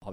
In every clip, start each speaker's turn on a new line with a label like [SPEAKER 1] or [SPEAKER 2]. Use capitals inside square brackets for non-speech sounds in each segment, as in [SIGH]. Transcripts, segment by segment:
[SPEAKER 1] Har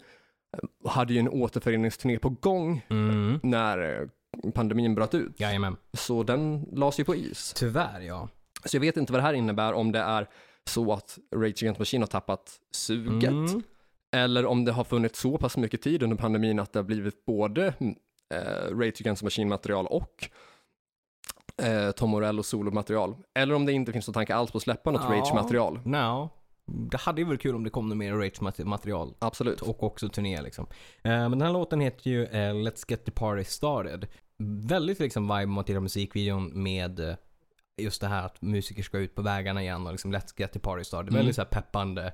[SPEAKER 1] eh, hade ju en återföreningsturné på gång
[SPEAKER 2] Mm.
[SPEAKER 1] när eh, pandemin bröt ut.
[SPEAKER 2] Jajamän.
[SPEAKER 1] Så den lades ju på is.
[SPEAKER 2] Tyvärr ja.
[SPEAKER 1] Så jag vet inte vad det här innebär, om det är så att Rage Against the Machine har tappat suget,
[SPEAKER 2] Mm.
[SPEAKER 1] eller om det har funnits så pass mycket tid under pandemin att det har blivit både eh, Rage Against the Machine-material och eh, Tom Morello solomaterial. Eller om det inte finns någon tanke alls på att släppa något
[SPEAKER 2] Ja.
[SPEAKER 1] Rage-material.
[SPEAKER 2] Nja. Det hade ju varit kul om det kom något mer Rage-material
[SPEAKER 1] Absolut.
[SPEAKER 2] och också turné liksom. Eh, Men den här låten heter ju eh, Let's Get The Party Started. Väldigt liksom vibe mot hela musikvideon med eh, just det här att musiker ska ut på vägarna igen och liksom Let's Get The Party Started.
[SPEAKER 1] Mm.
[SPEAKER 2] Väldigt så här peppande.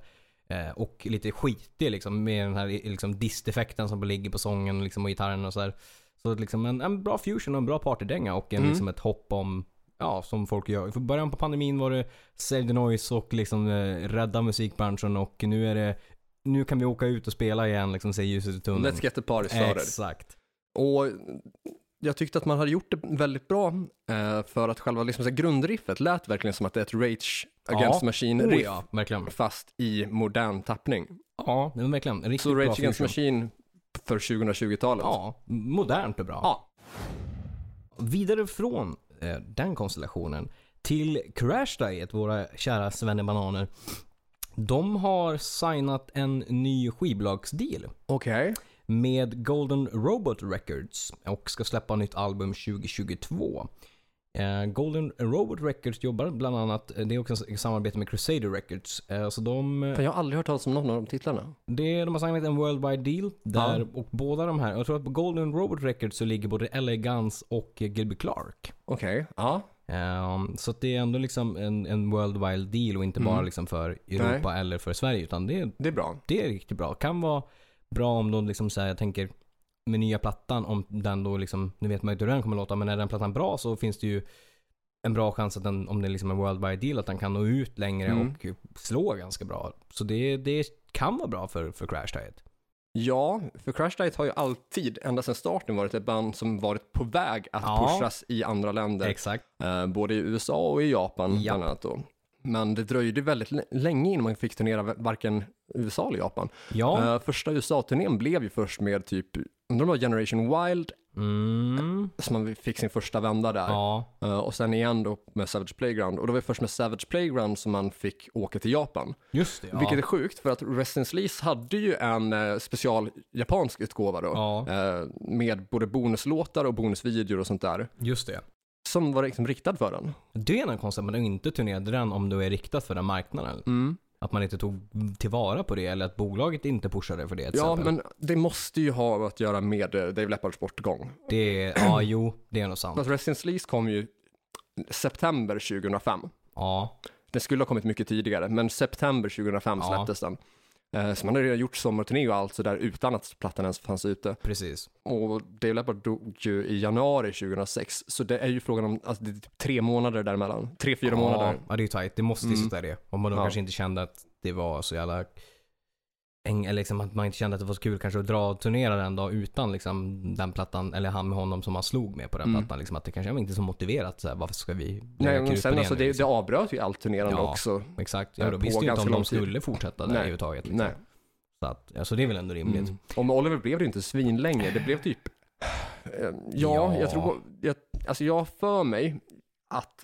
[SPEAKER 2] eh, Och lite skitig liksom med den här eh, liksom disteffekten som ligger på sången liksom, och gitarren och så här. Så att liksom en, en bra fusion och en bra partydänga och en,
[SPEAKER 1] Mm.
[SPEAKER 2] liksom ett hopp om, ja som folk gör. För början på pandemin var det Save the Noise och liksom eh, rädda musikbranschen och nu är det, nu kan vi åka ut och spela igen liksom, se ljuset i tunneln.
[SPEAKER 1] Let's get the party started.
[SPEAKER 2] Exakt.
[SPEAKER 1] Och jag tyckte att man hade gjort det väldigt bra eh, för att själva liksom, så här, grundriffet lät verkligen som att det är ett Rage Against
[SPEAKER 2] Ja.
[SPEAKER 1] the Machine-riff.
[SPEAKER 2] Oh, ja, verkligen.
[SPEAKER 1] fast i modern tappning.
[SPEAKER 2] Ja, men verkligen. En Riktigt
[SPEAKER 1] Så
[SPEAKER 2] bra
[SPEAKER 1] Rage Against the
[SPEAKER 2] fusion.
[SPEAKER 1] Machine för 2020-talet.
[SPEAKER 2] Ja, modernt och bra.
[SPEAKER 1] Ja.
[SPEAKER 2] Vidare från eh, den konstellationen till Crash Diet, våra kära svennebananer. De har signat en ny skivbolagsdeal
[SPEAKER 1] Okej.
[SPEAKER 2] med Golden Robot Records och ska släppa nytt album 2022. Eh, Golden Robot Records jobbar bland annat, eh, det är också i samarbete med Crusader Records. Eh, så de,
[SPEAKER 1] För Jag har aldrig hört talas om någon av de titlarna.
[SPEAKER 2] det, de har signat en worldwide deal där och båda de här, jag tror att på Golden Robot Records så ligger både LA Guns och eh, Gilby Clark.
[SPEAKER 1] Okej, ja.
[SPEAKER 2] Ehm, så att det är ändå liksom en, en worldwide deal och inte bara liksom för Europa eller för Sverige utan det är
[SPEAKER 1] Det är bra.
[SPEAKER 2] det är riktigt bra. Kan vara bra om de liksom så här, jag tänker med nya plattan om den då liksom, nu vet man ju inte hur den kommer låta men är den plattan bra så finns det ju en bra chans att den, om det är liksom en worldwide deal, att den kan nå ut längre
[SPEAKER 1] Mm.
[SPEAKER 2] och slå ganska bra. Så det, det kan vara bra för, för Crash Diet.
[SPEAKER 1] Ja, för Crash Diet har ju alltid, ända sedan starten, varit ett band som varit på väg att
[SPEAKER 2] Ja.
[SPEAKER 1] pushas i andra länder.
[SPEAKER 2] Exakt.
[SPEAKER 1] Eh, både i USA och i Japan
[SPEAKER 2] Japp.
[SPEAKER 1] bland annat då. Men det dröjde väldigt l- länge innan man fick turnera v- varken USA eller Japan.
[SPEAKER 2] Ja.
[SPEAKER 1] Eh, första USA-turnén blev ju först med typ, undrar om det var Generation Wild,
[SPEAKER 2] Mm.
[SPEAKER 1] som man fick sin första vända där.
[SPEAKER 2] Ja.
[SPEAKER 1] Eh, och sen igen då med Savage Playground. Och det var ju först med Savage Playground som man fick åka till Japan.
[SPEAKER 2] Just det. Ja.
[SPEAKER 1] Vilket är sjukt, för att Residence Lease hade ju en eh, special japansk utgåva då.
[SPEAKER 2] Ja.
[SPEAKER 1] eh, med både bonuslåtar och bonusvideor och sånt där.
[SPEAKER 2] Just det.
[SPEAKER 1] Som var liksom riktad för den.
[SPEAKER 2] Det är en konstigt, men inte turnerade den om du är riktad för den marknaden. Att man inte tog tillvara på det eller att bolaget inte pushade för det. till
[SPEAKER 1] Ja,
[SPEAKER 2] exempel.
[SPEAKER 1] men det måste ju ha att göra med eh, Dave Leppards bortgång.
[SPEAKER 2] Det är, ja jo, det är nog sant.
[SPEAKER 1] Alltså, Residence Lease kom ju september 2005.
[SPEAKER 2] Ja,
[SPEAKER 1] Den skulle ha kommit mycket tidigare, men september 2005
[SPEAKER 2] Ja.
[SPEAKER 1] släpptes den. Eh, Så man hade redan gjort sommarturné och allt sådär utan att plattan ens fanns ute.
[SPEAKER 2] precis.
[SPEAKER 1] Och Dave Leppard dog ju i januari 2006, så det är ju frågan om, alltså det är typ tre månader däremellan. Tre, fyra
[SPEAKER 2] ja,
[SPEAKER 1] månader. Mm.
[SPEAKER 2] Ja, det är ju tajt. Det måste ju sitta i det. Om man då
[SPEAKER 1] Ja.
[SPEAKER 2] kanske inte kände att det var så jävla... En, eller liksom att man inte kände att det var så kul kanske att dra och turnera den dag utan liksom den plattan, eller han med honom som man slog med på den
[SPEAKER 1] Mm.
[SPEAKER 2] plattan. Liksom att det kanske var inte så motiverat. Så här, varför ska vi
[SPEAKER 1] Nej,
[SPEAKER 2] lägga
[SPEAKER 1] men
[SPEAKER 2] krut på
[SPEAKER 1] sen alltså,
[SPEAKER 2] nu,
[SPEAKER 1] det, det
[SPEAKER 2] liksom?
[SPEAKER 1] avbröt ju allt turnerande
[SPEAKER 2] Ja.
[SPEAKER 1] också.
[SPEAKER 2] Exakt. Ja,
[SPEAKER 1] på
[SPEAKER 2] då visste ju inte
[SPEAKER 1] ganska
[SPEAKER 2] om
[SPEAKER 1] lång
[SPEAKER 2] de
[SPEAKER 1] tid.
[SPEAKER 2] skulle fortsätta där
[SPEAKER 1] Nej.
[SPEAKER 2] överhuvudtaget. Liksom.
[SPEAKER 1] Nej.
[SPEAKER 2] Så, att, ja, så det är väl ändå rimligt.
[SPEAKER 1] Mm. Och med Oliver blev det inte svinlänge. Det blev typ... Eh, Ja,
[SPEAKER 2] Ja.
[SPEAKER 1] jag tror... Jag, alltså jag har för mig att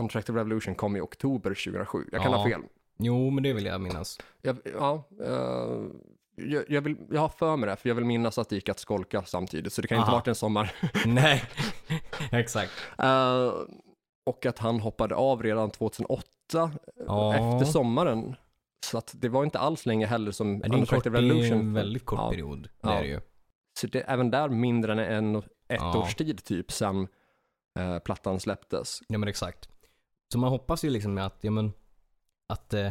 [SPEAKER 1] Untracted Revolution kom i oktober 2007. Jag kan
[SPEAKER 2] Ja.
[SPEAKER 1] ha fel.
[SPEAKER 2] Jo, men det vill jag minnas.
[SPEAKER 1] [LAUGHS] Jag, ja, eh, jag, jag, vill, jag har för mig det, för jag vill minnas att det gick att skolka samtidigt, så det kan inte
[SPEAKER 2] Aha.
[SPEAKER 1] ha varit en sommar.
[SPEAKER 2] Nej, [LAUGHS] exakt.
[SPEAKER 1] Eh, och att han hoppade av redan 2008,
[SPEAKER 2] Ja.
[SPEAKER 1] efter sommaren. Så att det var inte alls länge heller som
[SPEAKER 2] Men det är en, kort,
[SPEAKER 1] Unattracted
[SPEAKER 2] det är en
[SPEAKER 1] Revolution.
[SPEAKER 2] väldigt kort
[SPEAKER 1] Ja.
[SPEAKER 2] period. Det
[SPEAKER 1] Ja.
[SPEAKER 2] är det ju.
[SPEAKER 1] Så det, även där mindre än en, ett
[SPEAKER 2] Ja.
[SPEAKER 1] års tid typ sen eh, plattan släpptes.
[SPEAKER 2] Ja men exakt. Så man hoppas ju liksom att, ja men, att eh,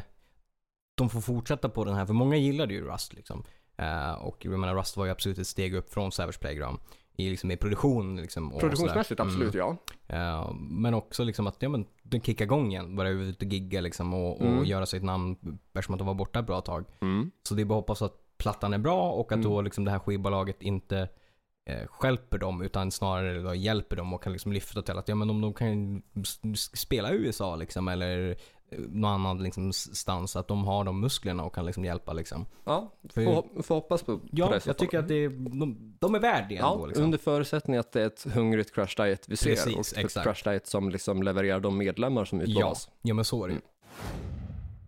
[SPEAKER 2] de får fortsätta på den här. För många gillade ju Rust liksom. Eh, och jag menar Rust var ju absolut ett steg upp från Savage Playground. I, liksom, i produktion liksom. och
[SPEAKER 1] Produktionsmässigt
[SPEAKER 2] sådär. Mm.
[SPEAKER 1] absolut ja.
[SPEAKER 2] Eh, men också liksom att, ja men, den kickar igång igen. Börjar ut och gigga liksom och, och
[SPEAKER 1] Mm.
[SPEAKER 2] göra sitt namn. Eftersom att de var borta ett bra tag. Så det är bara att hoppas att plattan är bra och att
[SPEAKER 1] Mm.
[SPEAKER 2] då liksom det här skivbolaget inte eh, stjälper dem utan snarare då hjälper dem och kan liksom lyfta till att ja, men om de kan s- s- spela i USA liksom eller eh, någon annan liksom s- stans att de har de musklerna och kan liksom hjälpa liksom.
[SPEAKER 1] Ja,
[SPEAKER 2] För-
[SPEAKER 1] får, får hoppas på, på det
[SPEAKER 2] Ja,
[SPEAKER 1] i så
[SPEAKER 2] jag
[SPEAKER 1] fall.
[SPEAKER 2] tycker att det, är- de, de är värd det
[SPEAKER 1] Ja,
[SPEAKER 2] ändå liksom.
[SPEAKER 1] under förutsättning att det är ett hungrigt crash diet vi ser
[SPEAKER 2] Precis,
[SPEAKER 1] och ett
[SPEAKER 2] exakt.
[SPEAKER 1] crash diet som liksom levererar de medlemmar som
[SPEAKER 2] Ja,
[SPEAKER 1] utlovas.
[SPEAKER 2] ja men så är det ju. Mm.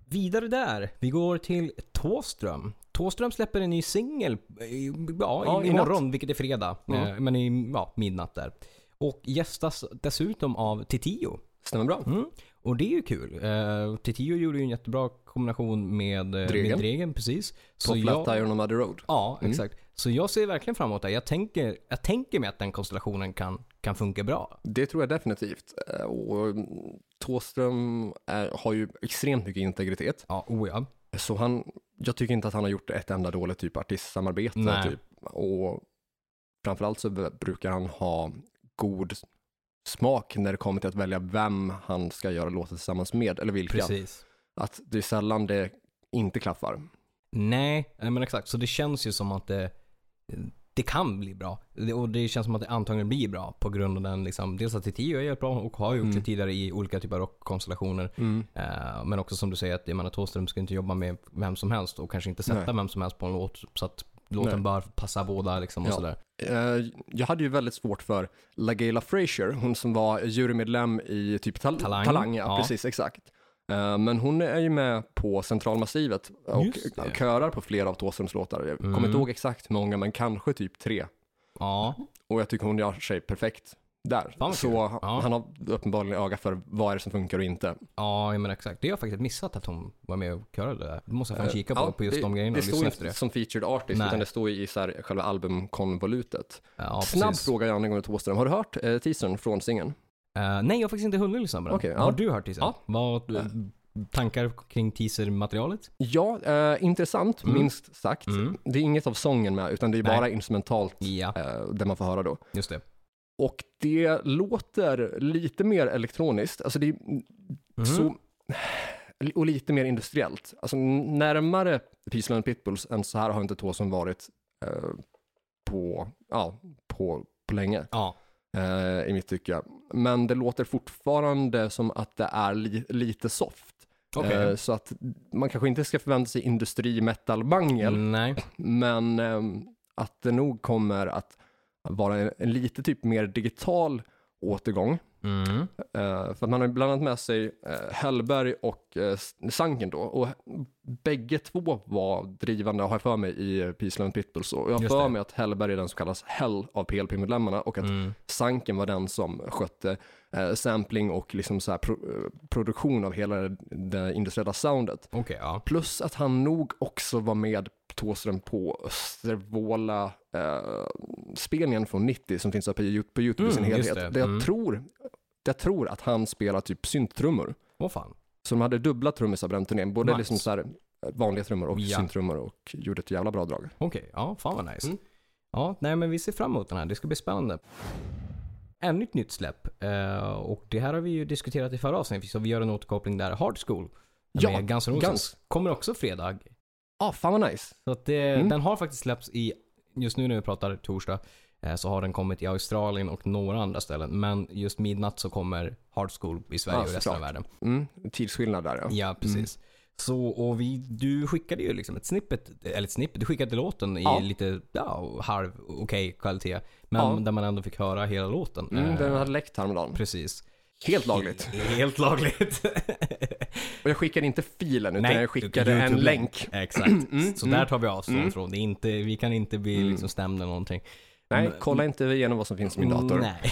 [SPEAKER 2] Vidare där, vi går till Tåström. Tåström släpper en ny singel eh, ja,
[SPEAKER 1] Ja,
[SPEAKER 2] i-
[SPEAKER 1] i
[SPEAKER 2] imorgon, vilket är fredag.
[SPEAKER 1] Mm.
[SPEAKER 2] Eh, Men i ja, midnatt där. Och gästas dessutom av Titio.
[SPEAKER 1] Stämmer bra.
[SPEAKER 2] Mm. Och det är ju kul. Eh, Titio gjorde ju en jättebra kombination med eh,
[SPEAKER 1] Dregen.
[SPEAKER 2] med Dregen precis.
[SPEAKER 1] På Flat Iron och Muddy Road.
[SPEAKER 2] Ja, exakt. Så jag ser verkligen fram emot det. Jag tänker, jag tänker mig att den konstellationen kan, kan funka bra.
[SPEAKER 1] Det tror jag definitivt. Eh, Och mm, Thåström är- har ju extremt mycket integritet.
[SPEAKER 2] Ja, oh ja.
[SPEAKER 1] Så han, jag tycker inte att han har gjort ett enda dåligt typ artistsamarbete.
[SPEAKER 2] Nej.
[SPEAKER 1] Typ. Och framförallt så b- brukar han ha god smak när det kommer till att välja vem han ska göra låten tillsammans med, eller vilka.
[SPEAKER 2] Precis.
[SPEAKER 1] Att det är sällan det inte klaffar.
[SPEAKER 2] Nej, nej, men exakt. Så det känns ju som att det, det kan bli bra. Det- Och det känns som att det antagligen blir bra på grund av den liksom, dels att Titiyo är jättebra och har
[SPEAKER 1] Mm.
[SPEAKER 2] gjort det tidigare i olika typer av rockkonstellationer. Eh, men också som du säger att jag menar, Thåström ska inte jobba med vem som helst och kanske inte sätta
[SPEAKER 1] Nej.
[SPEAKER 2] vem som helst på en låt. Så att låten
[SPEAKER 1] Nej.
[SPEAKER 2] bara passar båda liksom och
[SPEAKER 1] Ja.
[SPEAKER 2] sådär.
[SPEAKER 1] Eh, jag hade ju väldigt svårt för LaGayla Frazier, hon som var jurymedlem i typ tal-
[SPEAKER 2] Talang.
[SPEAKER 1] Talang. ja,
[SPEAKER 2] Ja.
[SPEAKER 1] precis, exakt. Eh, men hon är ju med på Centralmassivet och
[SPEAKER 2] Just det.
[SPEAKER 1] körar på flera av Thåströms låtar. Jag
[SPEAKER 2] Mm.
[SPEAKER 1] kommer inte ihåg exakt hur många, men kanske typ tre.
[SPEAKER 2] Ja,
[SPEAKER 1] Och jag tycker hon gör sig perfekt där.
[SPEAKER 2] vad
[SPEAKER 1] Så
[SPEAKER 2] kul.
[SPEAKER 1] han-
[SPEAKER 2] Ja.
[SPEAKER 1] han har uppenbarligen öga för vad är det som funkar och inte.
[SPEAKER 2] ja men exakt. Det har jag faktiskt missat att hon var med och körade det där. Det måste jag fan kika på,
[SPEAKER 1] Eh, Ja,
[SPEAKER 2] på just
[SPEAKER 1] det,
[SPEAKER 2] de grejerna
[SPEAKER 1] Det
[SPEAKER 2] och
[SPEAKER 1] står
[SPEAKER 2] lyssna
[SPEAKER 1] ju
[SPEAKER 2] efter
[SPEAKER 1] inte
[SPEAKER 2] det.
[SPEAKER 1] som featured artist,
[SPEAKER 2] Nej.
[SPEAKER 1] utan det står ju i så här, själva albumkonvolutet.
[SPEAKER 2] Ja,
[SPEAKER 1] Snabb
[SPEAKER 2] precis.
[SPEAKER 1] fråga jag angående Thåström. Har du hört eh, teasern från singeln?
[SPEAKER 2] Eh, nej, jag har faktiskt inte hunnit lyssna på den.
[SPEAKER 1] Okej, ja.
[SPEAKER 2] Har du hört teasern?
[SPEAKER 1] Ja.
[SPEAKER 2] Vad, eh, tankar kring teasermaterialet?
[SPEAKER 1] Ja, eh, intressant,
[SPEAKER 2] Mm.
[SPEAKER 1] minst sagt.
[SPEAKER 2] Mm.
[SPEAKER 1] Det är inget av sången med, utan det är
[SPEAKER 2] Nej. Mm.
[SPEAKER 1] bara instrumentalt
[SPEAKER 2] Ja,
[SPEAKER 1] eh, det man får höra då.
[SPEAKER 2] just det.
[SPEAKER 1] Och det låter lite mer elektroniskt, alltså det är
[SPEAKER 2] Mhm.
[SPEAKER 1] så, eh, och lite mer industriellt. Alltså närmare Peace Love Pitbulls än så här har inte Thåström varit eh, på, ja, på, på länge.
[SPEAKER 2] Ja,
[SPEAKER 1] eh, i mitt tycke. Men det låter fortfarande som att det är li- lite soft.
[SPEAKER 2] okej.
[SPEAKER 1] Eh, så att man kanske inte ska förvänta sig industri-metal-mangel,
[SPEAKER 2] Nej.
[SPEAKER 1] men ehm, att det nog kommer att vara en, en lite typ mer digital återgång.
[SPEAKER 2] Mm.
[SPEAKER 1] Eh, för att man har ju bland annat med sig eh, Hellberg och eh, S- Sanken då. Och bägge två var drivande, har jag för mig, i Peace Love Pitbulls. Och jag har
[SPEAKER 2] Just
[SPEAKER 1] för
[SPEAKER 2] det.
[SPEAKER 1] mig att Hellberg är den som kallas Hell av PLP-medlemmarna och att
[SPEAKER 2] Mm.
[SPEAKER 1] Sanken var den som skötte eh, sampling och liksom så här pro- eh, produktion av hela det, det industriella soundet.
[SPEAKER 2] Okej, ja.
[SPEAKER 1] Plus att han nog också var med Thåström på Östervåla eh, spelningen från 90 som finns på Youtube, på YouTube i sin
[SPEAKER 2] Mm, just
[SPEAKER 1] helhet.
[SPEAKER 2] det.
[SPEAKER 1] Där Jag,
[SPEAKER 2] Mm.
[SPEAKER 1] tror, jag tror att han spelar typ synttrummor.
[SPEAKER 2] Åh fan.
[SPEAKER 1] Så de hade dubbla trummisar på den turnén, både
[SPEAKER 2] Nice.
[SPEAKER 1] liksom så här vanliga trummor och
[SPEAKER 2] Ja.
[SPEAKER 1] synttrummor och gjorde ett jävla bra drag.
[SPEAKER 2] Okej, ja. Fan vad nice.
[SPEAKER 1] Mm.
[SPEAKER 2] Ja, nej men vi ser fram emot den här. Det ska bli spännande. Ännu ett nytt släpp. eh, och det här har vi ju diskuterat i förra avsnittet, så vi gör en återkoppling där. Hard School.
[SPEAKER 1] Ja,
[SPEAKER 2] med Guns N' Roses.
[SPEAKER 1] Guns.
[SPEAKER 2] Kommer också fredag.
[SPEAKER 1] Ah, fan vad nice!
[SPEAKER 2] Så att det,
[SPEAKER 1] Mm.
[SPEAKER 2] den har faktiskt släppts i, just nu när vi pratar torsdag, eh, så har den kommit i Australien och några andra ställen. Men just midnatt så kommer Hard School i Sverige
[SPEAKER 1] Ja,
[SPEAKER 2] och resten
[SPEAKER 1] såklart.
[SPEAKER 2] av världen.
[SPEAKER 1] Mm, tidsskillnad där ja.
[SPEAKER 2] Ja, precis. Så, och vi, du skickade ju liksom ett snippet, eller ett snippet, du skickade låten i
[SPEAKER 1] Ja.
[SPEAKER 2] lite ja, halv okej kvalitet. Men
[SPEAKER 1] Ja.
[SPEAKER 2] där man ändå fick höra hela låten.
[SPEAKER 1] Mm,
[SPEAKER 2] Eh,
[SPEAKER 1] den hade läckt häromdagen.
[SPEAKER 2] Precis.
[SPEAKER 1] Helt lagligt. [LAUGHS]
[SPEAKER 2] Helt lagligt.
[SPEAKER 1] Och jag skickade inte filen utan jag skickade
[SPEAKER 2] YouTube-
[SPEAKER 1] en länk. [CLEARS THROAT] Mm,
[SPEAKER 2] Exakt. så där tar vi avstånd från. Det är inte, vi kan inte bli liksom stämda eller någonting.
[SPEAKER 1] Nej, kolla inte igenom vad som finns i min dator.
[SPEAKER 2] Mm. Nej.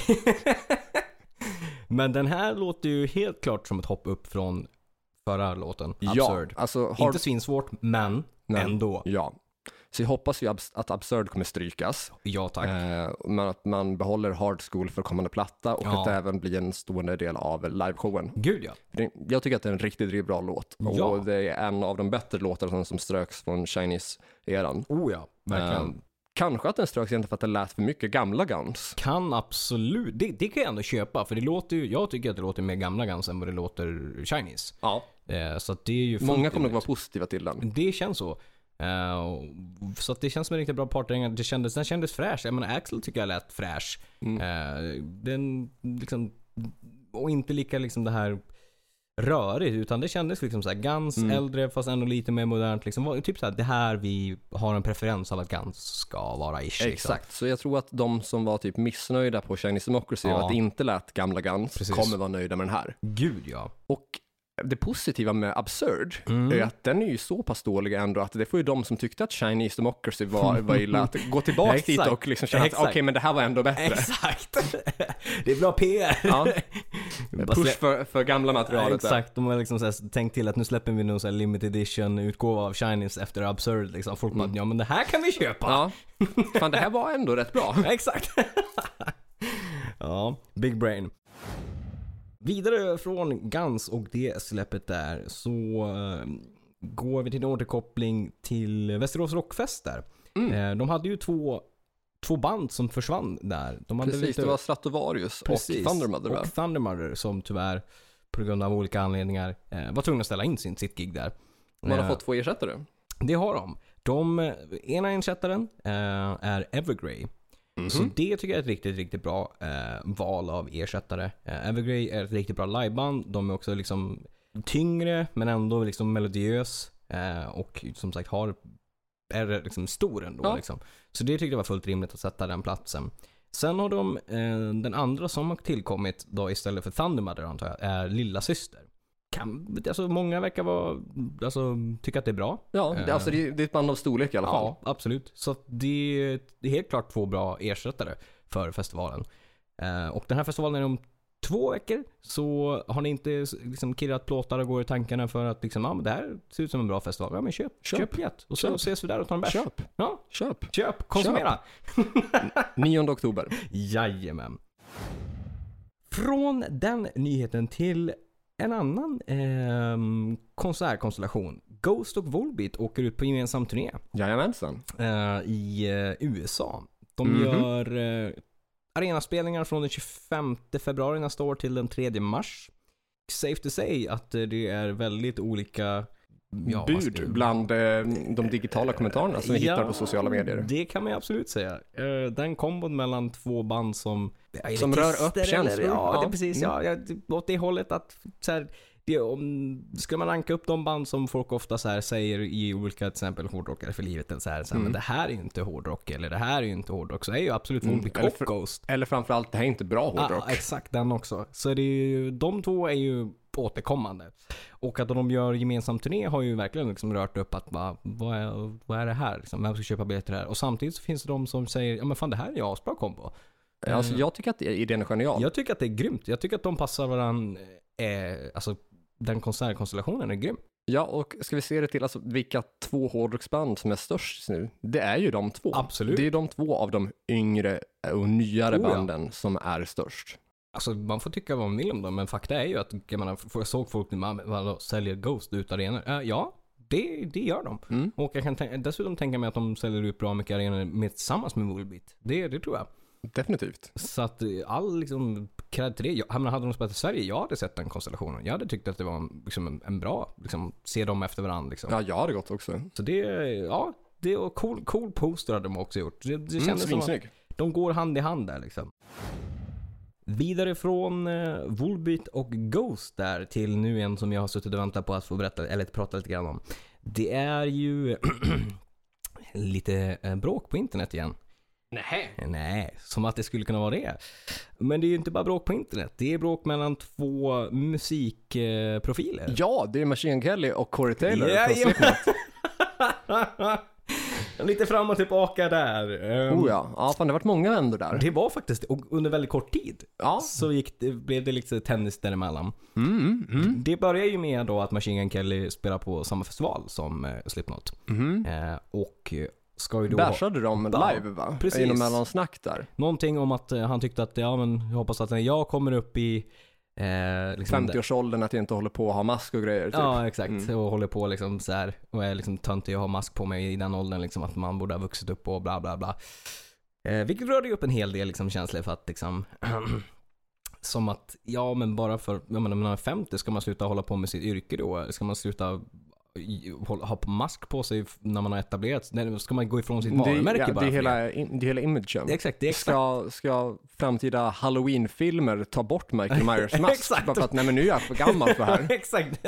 [SPEAKER 2] [LAUGHS] Men den här låter ju helt klart som ett hopp upp från förra låten.
[SPEAKER 1] ja,
[SPEAKER 2] Absurd.
[SPEAKER 1] alltså har...
[SPEAKER 2] Inte svinsvårt, men
[SPEAKER 1] Nej.
[SPEAKER 2] ändå.
[SPEAKER 1] Ja. Så jag hoppas ju abs- att Absurd kommer strykas,
[SPEAKER 2] Ja tack.
[SPEAKER 1] eh, men att man behåller Hard School för kommande platta och
[SPEAKER 2] Ja.
[SPEAKER 1] att det även blir en stående del av liveshowen.
[SPEAKER 2] Gud ja.
[SPEAKER 1] För det- Jag tycker att det är en riktigt bra låt och
[SPEAKER 2] Ja.
[SPEAKER 1] det är en av de bättre låtarna som ströks från Chinese-eran.
[SPEAKER 2] Oh ja, verkligen.
[SPEAKER 1] Eh, kanske att den ströks egentligen för att det lät för mycket gamla Guns.
[SPEAKER 2] Kan absolut, det, det kan jag ändå köpa. För det låter ju, jag tycker att det låter mer gamla Guns än vad det låter Chinese.
[SPEAKER 1] Ja.
[SPEAKER 2] Eh, så att det är ju fullt
[SPEAKER 1] Många kommer nog
[SPEAKER 2] rimligt.
[SPEAKER 1] vara positiva till den.
[SPEAKER 2] Det känns så. Eh, och- så att det känns som en riktigt bra partdänga. Det kändes, den kändes fräsch. Jag menar Axel tycker jag lät fräsch.
[SPEAKER 1] Mm.
[SPEAKER 2] Eh, den liksom, och inte lika liksom det här rörigt. Utan det kändes liksom så här Guns,
[SPEAKER 1] Mm.
[SPEAKER 2] äldre fast ändå lite mer modernt. Liksom, Var- typ så här, det här vi har en preferens av att Guns ska vara ish. Liksom.
[SPEAKER 1] Exakt, så jag tror att de som var typ missnöjda på Chinese Democracy
[SPEAKER 2] Ja.
[SPEAKER 1] och att det inte lät gamla Guns
[SPEAKER 2] Precis.
[SPEAKER 1] kommer vara nöjda med den här.
[SPEAKER 2] Gud
[SPEAKER 1] [LAUGHS]
[SPEAKER 2] ja.
[SPEAKER 1] Och det positiva med Absurd
[SPEAKER 2] Mm.
[SPEAKER 1] är att den är ju så pass dålig ändå att det får ju de som tyckte att Chinese Democracy var, var illa att gå
[SPEAKER 2] [LAUGHS]
[SPEAKER 1] tillbaka
[SPEAKER 2] Exakt.
[SPEAKER 1] dit och liksom känna att
[SPEAKER 2] Exakt.
[SPEAKER 1] okej men det här var ändå bättre.
[SPEAKER 2] Exakt. [LAUGHS] det är bra PR. [LAUGHS]
[SPEAKER 1] Ja.
[SPEAKER 2] Bara slä-
[SPEAKER 1] Push för, för gamla
[SPEAKER 2] Ja,
[SPEAKER 1] materialet. där.
[SPEAKER 2] exakt, de har liksom så här tänkt till att nu släpper vi någon så här limited edition utgåva av Shinies efter Absurd liksom. Folk
[SPEAKER 1] Mm.
[SPEAKER 2] bara, ja men det här kan vi köpa!
[SPEAKER 1] Ja.
[SPEAKER 2] [LAUGHS]
[SPEAKER 1] Fan det här var ändå rätt bra.
[SPEAKER 2] Exakt! [LAUGHS] ja, big brain. Vidare från Guns och det släppet där så eh, går vi till en återkoppling till Västerås Rockfest där.
[SPEAKER 1] Mm.
[SPEAKER 2] Eh, de hade ju två, två band som försvann där. De hade
[SPEAKER 1] Precis,
[SPEAKER 2] lite-
[SPEAKER 1] det var Stratovarius och Thundermother va?
[SPEAKER 2] och Thundermother som tyvärr på grund av olika anledningar eh, var tvungna att ställa in sin, sitt gig där.
[SPEAKER 1] Man har
[SPEAKER 2] Eh,
[SPEAKER 1] fått två ersättare.
[SPEAKER 2] Det har de. de eh, ena ersättaren eh, är Evergrey.
[SPEAKER 1] Mhm.
[SPEAKER 2] Så det tycker jag är ett riktigt, riktigt bra eh, val av ersättare. Eh, Evergrey är ett riktigt bra liveband. De är också liksom tyngre men ändå liksom melodiös. Eh, och som sagt har är liksom stor ändå.
[SPEAKER 1] Ja.
[SPEAKER 2] Liksom. Så det tyckte jag var fullt rimligt att sätta den platsen. Sen har de, eh, den andra som har tillkommit då istället för Thunder Mother antar jag, är Lilla Syster. Kan, alltså många verkar vara, alltså, tycka att det är bra.
[SPEAKER 1] Ja, det,
[SPEAKER 2] Eh.
[SPEAKER 1] alltså det, är- det är ett band av storlek i alla fall.
[SPEAKER 2] Ja, absolut. Så att det är det är helt klart två bra ersättare för festivalen. Eh, och den här festivalen är om två veckor. Så har ni inte s- liksom kirrat plåtar och går i tankarna för att liksom, ja, men det här ser ut som en bra festival. Ja, men köp,
[SPEAKER 1] Köp.
[SPEAKER 2] köp, biljett. Och så
[SPEAKER 1] Köp.
[SPEAKER 2] ses vi där och tar en bärs.
[SPEAKER 1] Köp,
[SPEAKER 2] Ja,
[SPEAKER 1] köp.
[SPEAKER 2] köp, konsumera.
[SPEAKER 1] 9 oktober.
[SPEAKER 2] Jajamän. Från den nyheten till en annan ehm, konsertkonstellation. Ghost och Volbeat åker ut på gemensam turné.
[SPEAKER 1] Jajamensan.
[SPEAKER 2] eh, i eh, USA. De
[SPEAKER 1] Mhm.
[SPEAKER 2] gör eh, arenaspelningar från den 25 februari nästa år till den 3 mars. Safe to say att eh, det är väldigt olika ja, vad ska-
[SPEAKER 1] Bud bland eh, de digitala kommentarerna som vi
[SPEAKER 2] Ja,
[SPEAKER 1] hittar på sociala medier.
[SPEAKER 2] Det kan man ju absolut säga. Eh, Den kombon mellan två band som... Är det
[SPEAKER 1] Som rör
[SPEAKER 2] tester
[SPEAKER 1] upp
[SPEAKER 2] eller-
[SPEAKER 1] känslor.
[SPEAKER 2] Ja,
[SPEAKER 1] Ja. Mm.
[SPEAKER 2] Det, är precis. Ja, ja, det- åt det hållet att så här, det, om, skulle man ranka upp de band som folk ofta så här, säger i olika, till exempel hårdrockare för livet, eller så här, så här
[SPEAKER 1] Mm.
[SPEAKER 2] men det här är ju inte hårdrock, eller det här är ju inte hårdrock, så är ju absolut
[SPEAKER 1] Mm,
[SPEAKER 2] Volbeat
[SPEAKER 1] eller
[SPEAKER 2] och
[SPEAKER 1] för-
[SPEAKER 2] Ghost.
[SPEAKER 1] Eller framförallt, det här är inte bra hårdrock.
[SPEAKER 2] Ah, exakt, den också. Så det är ju, de två är ju återkommande. Och att de gör gemensam turné har ju verkligen liksom rört upp att bara, vad, är, vad är det här? Liksom, vem ska köpa biljetter här? Och samtidigt så finns det de som säger, ja men fan det här är ju asbra kombo.
[SPEAKER 1] Alltså
[SPEAKER 2] Mm.
[SPEAKER 1] jag tycker att idén är genial.
[SPEAKER 2] Jag tycker att det är grymt. Jag tycker att de passar varandra, eh, alltså den konsertkonstellationen är grym.
[SPEAKER 1] Ja, och ska vi se det till alltså, vilka två hårdrocksband som är störst just nu? Det är ju de två.
[SPEAKER 2] Absolut.
[SPEAKER 1] Det är de två av de yngre eh, och nyare
[SPEAKER 2] Oh, ja.
[SPEAKER 1] banden som är störst.
[SPEAKER 2] Alltså man får tycka vad man vill om dem, men fakta är ju att, jag menar, f- jag såg folk, man, vadå, säljer Ghost ut arenor? Eh, ja, det, det gör de.
[SPEAKER 1] Mm.
[SPEAKER 2] Och jag kan tän- dessutom tänka mig att de säljer ut bra mycket arenor med, tillsammans med Volbeat. Det, det tror jag.
[SPEAKER 1] Definitivt.
[SPEAKER 2] Så att eh, all liksom cred till det. Jag, jag menar, hade de spelat i Sverige, jag hade sett den konstellationen. Jag hade tyckt att det var en, liksom en, en bra, liksom, se dem efter varandra liksom.
[SPEAKER 1] Ja, jag hade gått också. Mm,
[SPEAKER 2] Så det, ja, det och cool, cool poster hade de också gjort. Det, det
[SPEAKER 1] Mm,
[SPEAKER 2] kändes som att
[SPEAKER 1] Svinsnygg.
[SPEAKER 2] de går hand i hand där liksom. Vidare från eh, Volbeat och Ghost där till nu en som jag har suttit och väntat på att få berätta, eller prata lite grann om. Det är ju [CLEARS THROAT] lite eh, bråk på internet igen.
[SPEAKER 1] Nej.
[SPEAKER 2] Nej, som att det skulle kunna vara det. Men det är ju inte bara bråk på internet. Det är bråk mellan två
[SPEAKER 1] [LAUGHS]
[SPEAKER 2] musikprofiler.
[SPEAKER 1] Ja, det är Machine Kelly och Corey Taylor.
[SPEAKER 2] Ja,
[SPEAKER 1] från
[SPEAKER 2] ja.
[SPEAKER 1] Slipknot.
[SPEAKER 2] lite fram och tillbaka där. Ehm,
[SPEAKER 1] Oh ja. ja, fan det har varit många vändor där.
[SPEAKER 2] Det var faktiskt det, och under väldigt kort tid.
[SPEAKER 1] Ja.
[SPEAKER 2] Så gick det, blev det lite tennis däremellan.
[SPEAKER 1] Mm, mm,
[SPEAKER 2] Det börjar ju med då att Machine Gun Kelly spelar på samma festival som eh, Slipknot.
[SPEAKER 1] mm.
[SPEAKER 2] Eh, och ska ju då... ha-
[SPEAKER 1] Bashade de
[SPEAKER 2] Ja,
[SPEAKER 1] live va?
[SPEAKER 2] precis.
[SPEAKER 1] I någon mellansnack där.
[SPEAKER 2] Någonting om att eh, han tyckte att, ja men jag hoppas att när jag kommer upp i... Eh, liksom
[SPEAKER 1] 50-årsåldern, att jag inte håller på att ha mask och grejer. Typ.
[SPEAKER 2] Ja, exakt. Och håller på liksom så här och är liksom töntig och har mask på mig i den åldern liksom att man borde ha vuxit upp och bla bla bla. Eh, vilket rörde ju upp en hel del liksom känslor för att liksom [CLEARS THROAT] som att ja men bara för, jag menar när man är 50 ska man sluta hålla på med sitt yrke då? Ska man sluta i- hålla- ha mask på sig f- när man har etablerat sig? Nej, Ska man gå ifrån sitt
[SPEAKER 1] Det,
[SPEAKER 2] varumärke
[SPEAKER 1] ja,
[SPEAKER 2] bara?
[SPEAKER 1] det, är
[SPEAKER 2] för det?
[SPEAKER 1] hela, in- det är hela imagen.
[SPEAKER 2] Det är Exakt, det är exakt.
[SPEAKER 1] Ska, ska framtida halloween-filmer ta bort
[SPEAKER 2] [LAUGHS]
[SPEAKER 1] Michael Myers mask?
[SPEAKER 2] Exakt.
[SPEAKER 1] bara för att nej men nu är jag för gammal för det här.
[SPEAKER 2] [LAUGHS] exakt.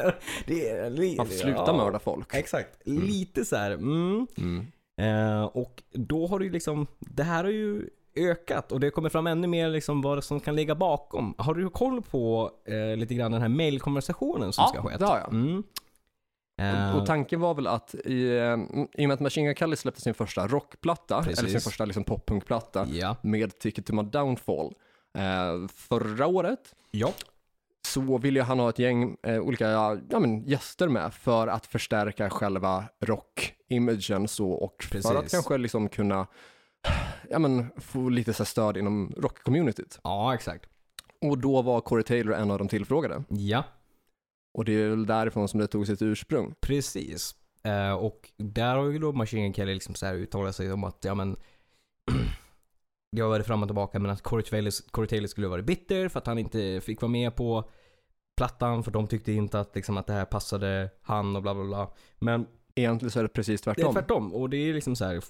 [SPEAKER 2] Det är,
[SPEAKER 1] Man får sluta mörda folk.
[SPEAKER 2] Exakt. Lite så här. Mm. Eh, och då har det ju liksom, det här har ju ökat och det kommer fram ännu mer liksom vad som kan ligga bakom. Har du koll på eh, lite grann den här mailkonversationen som
[SPEAKER 1] Ja,
[SPEAKER 2] ska ha skett?
[SPEAKER 1] det har jag.
[SPEAKER 2] Mm. Eh,
[SPEAKER 1] Och, och tanken var väl att i, eh, i och med att Machine Gun Kelly släppte sin första rockplatta,
[SPEAKER 2] Precis.
[SPEAKER 1] eller sin första liksom, poppunkplatta,
[SPEAKER 2] ja.
[SPEAKER 1] med Ticket to My Downfall eh, förra året,
[SPEAKER 2] ja.
[SPEAKER 1] så ville ju han ha ett gäng eh, olika ja, men, gäster med för att förstärka själva rockimagen så och
[SPEAKER 2] Precis.
[SPEAKER 1] för att kanske liksom kunna ja, men, få lite så här stöd inom rockcommunityt.
[SPEAKER 2] Ja, exakt.
[SPEAKER 1] Och då var Corey Taylor en av de tillfrågade.
[SPEAKER 2] Ja,
[SPEAKER 1] Och det är väl därifrån som det tog sitt ursprung.
[SPEAKER 2] precis. Eh, och där har ju då Machine Gun Kelly liksom så här uttalat sig om att, ja men [CLEARS THROAT] jag var det fram och tillbaka men att Corey Taylor, Corey Taylor skulle vara bitter för att han inte fick vara med på plattan för de tyckte inte att, liksom, att det här passade han och bla bla bla. Men
[SPEAKER 1] Egentligen så är det precis
[SPEAKER 2] det är
[SPEAKER 1] tvärtom.
[SPEAKER 2] tvärtom och det är liksom så här.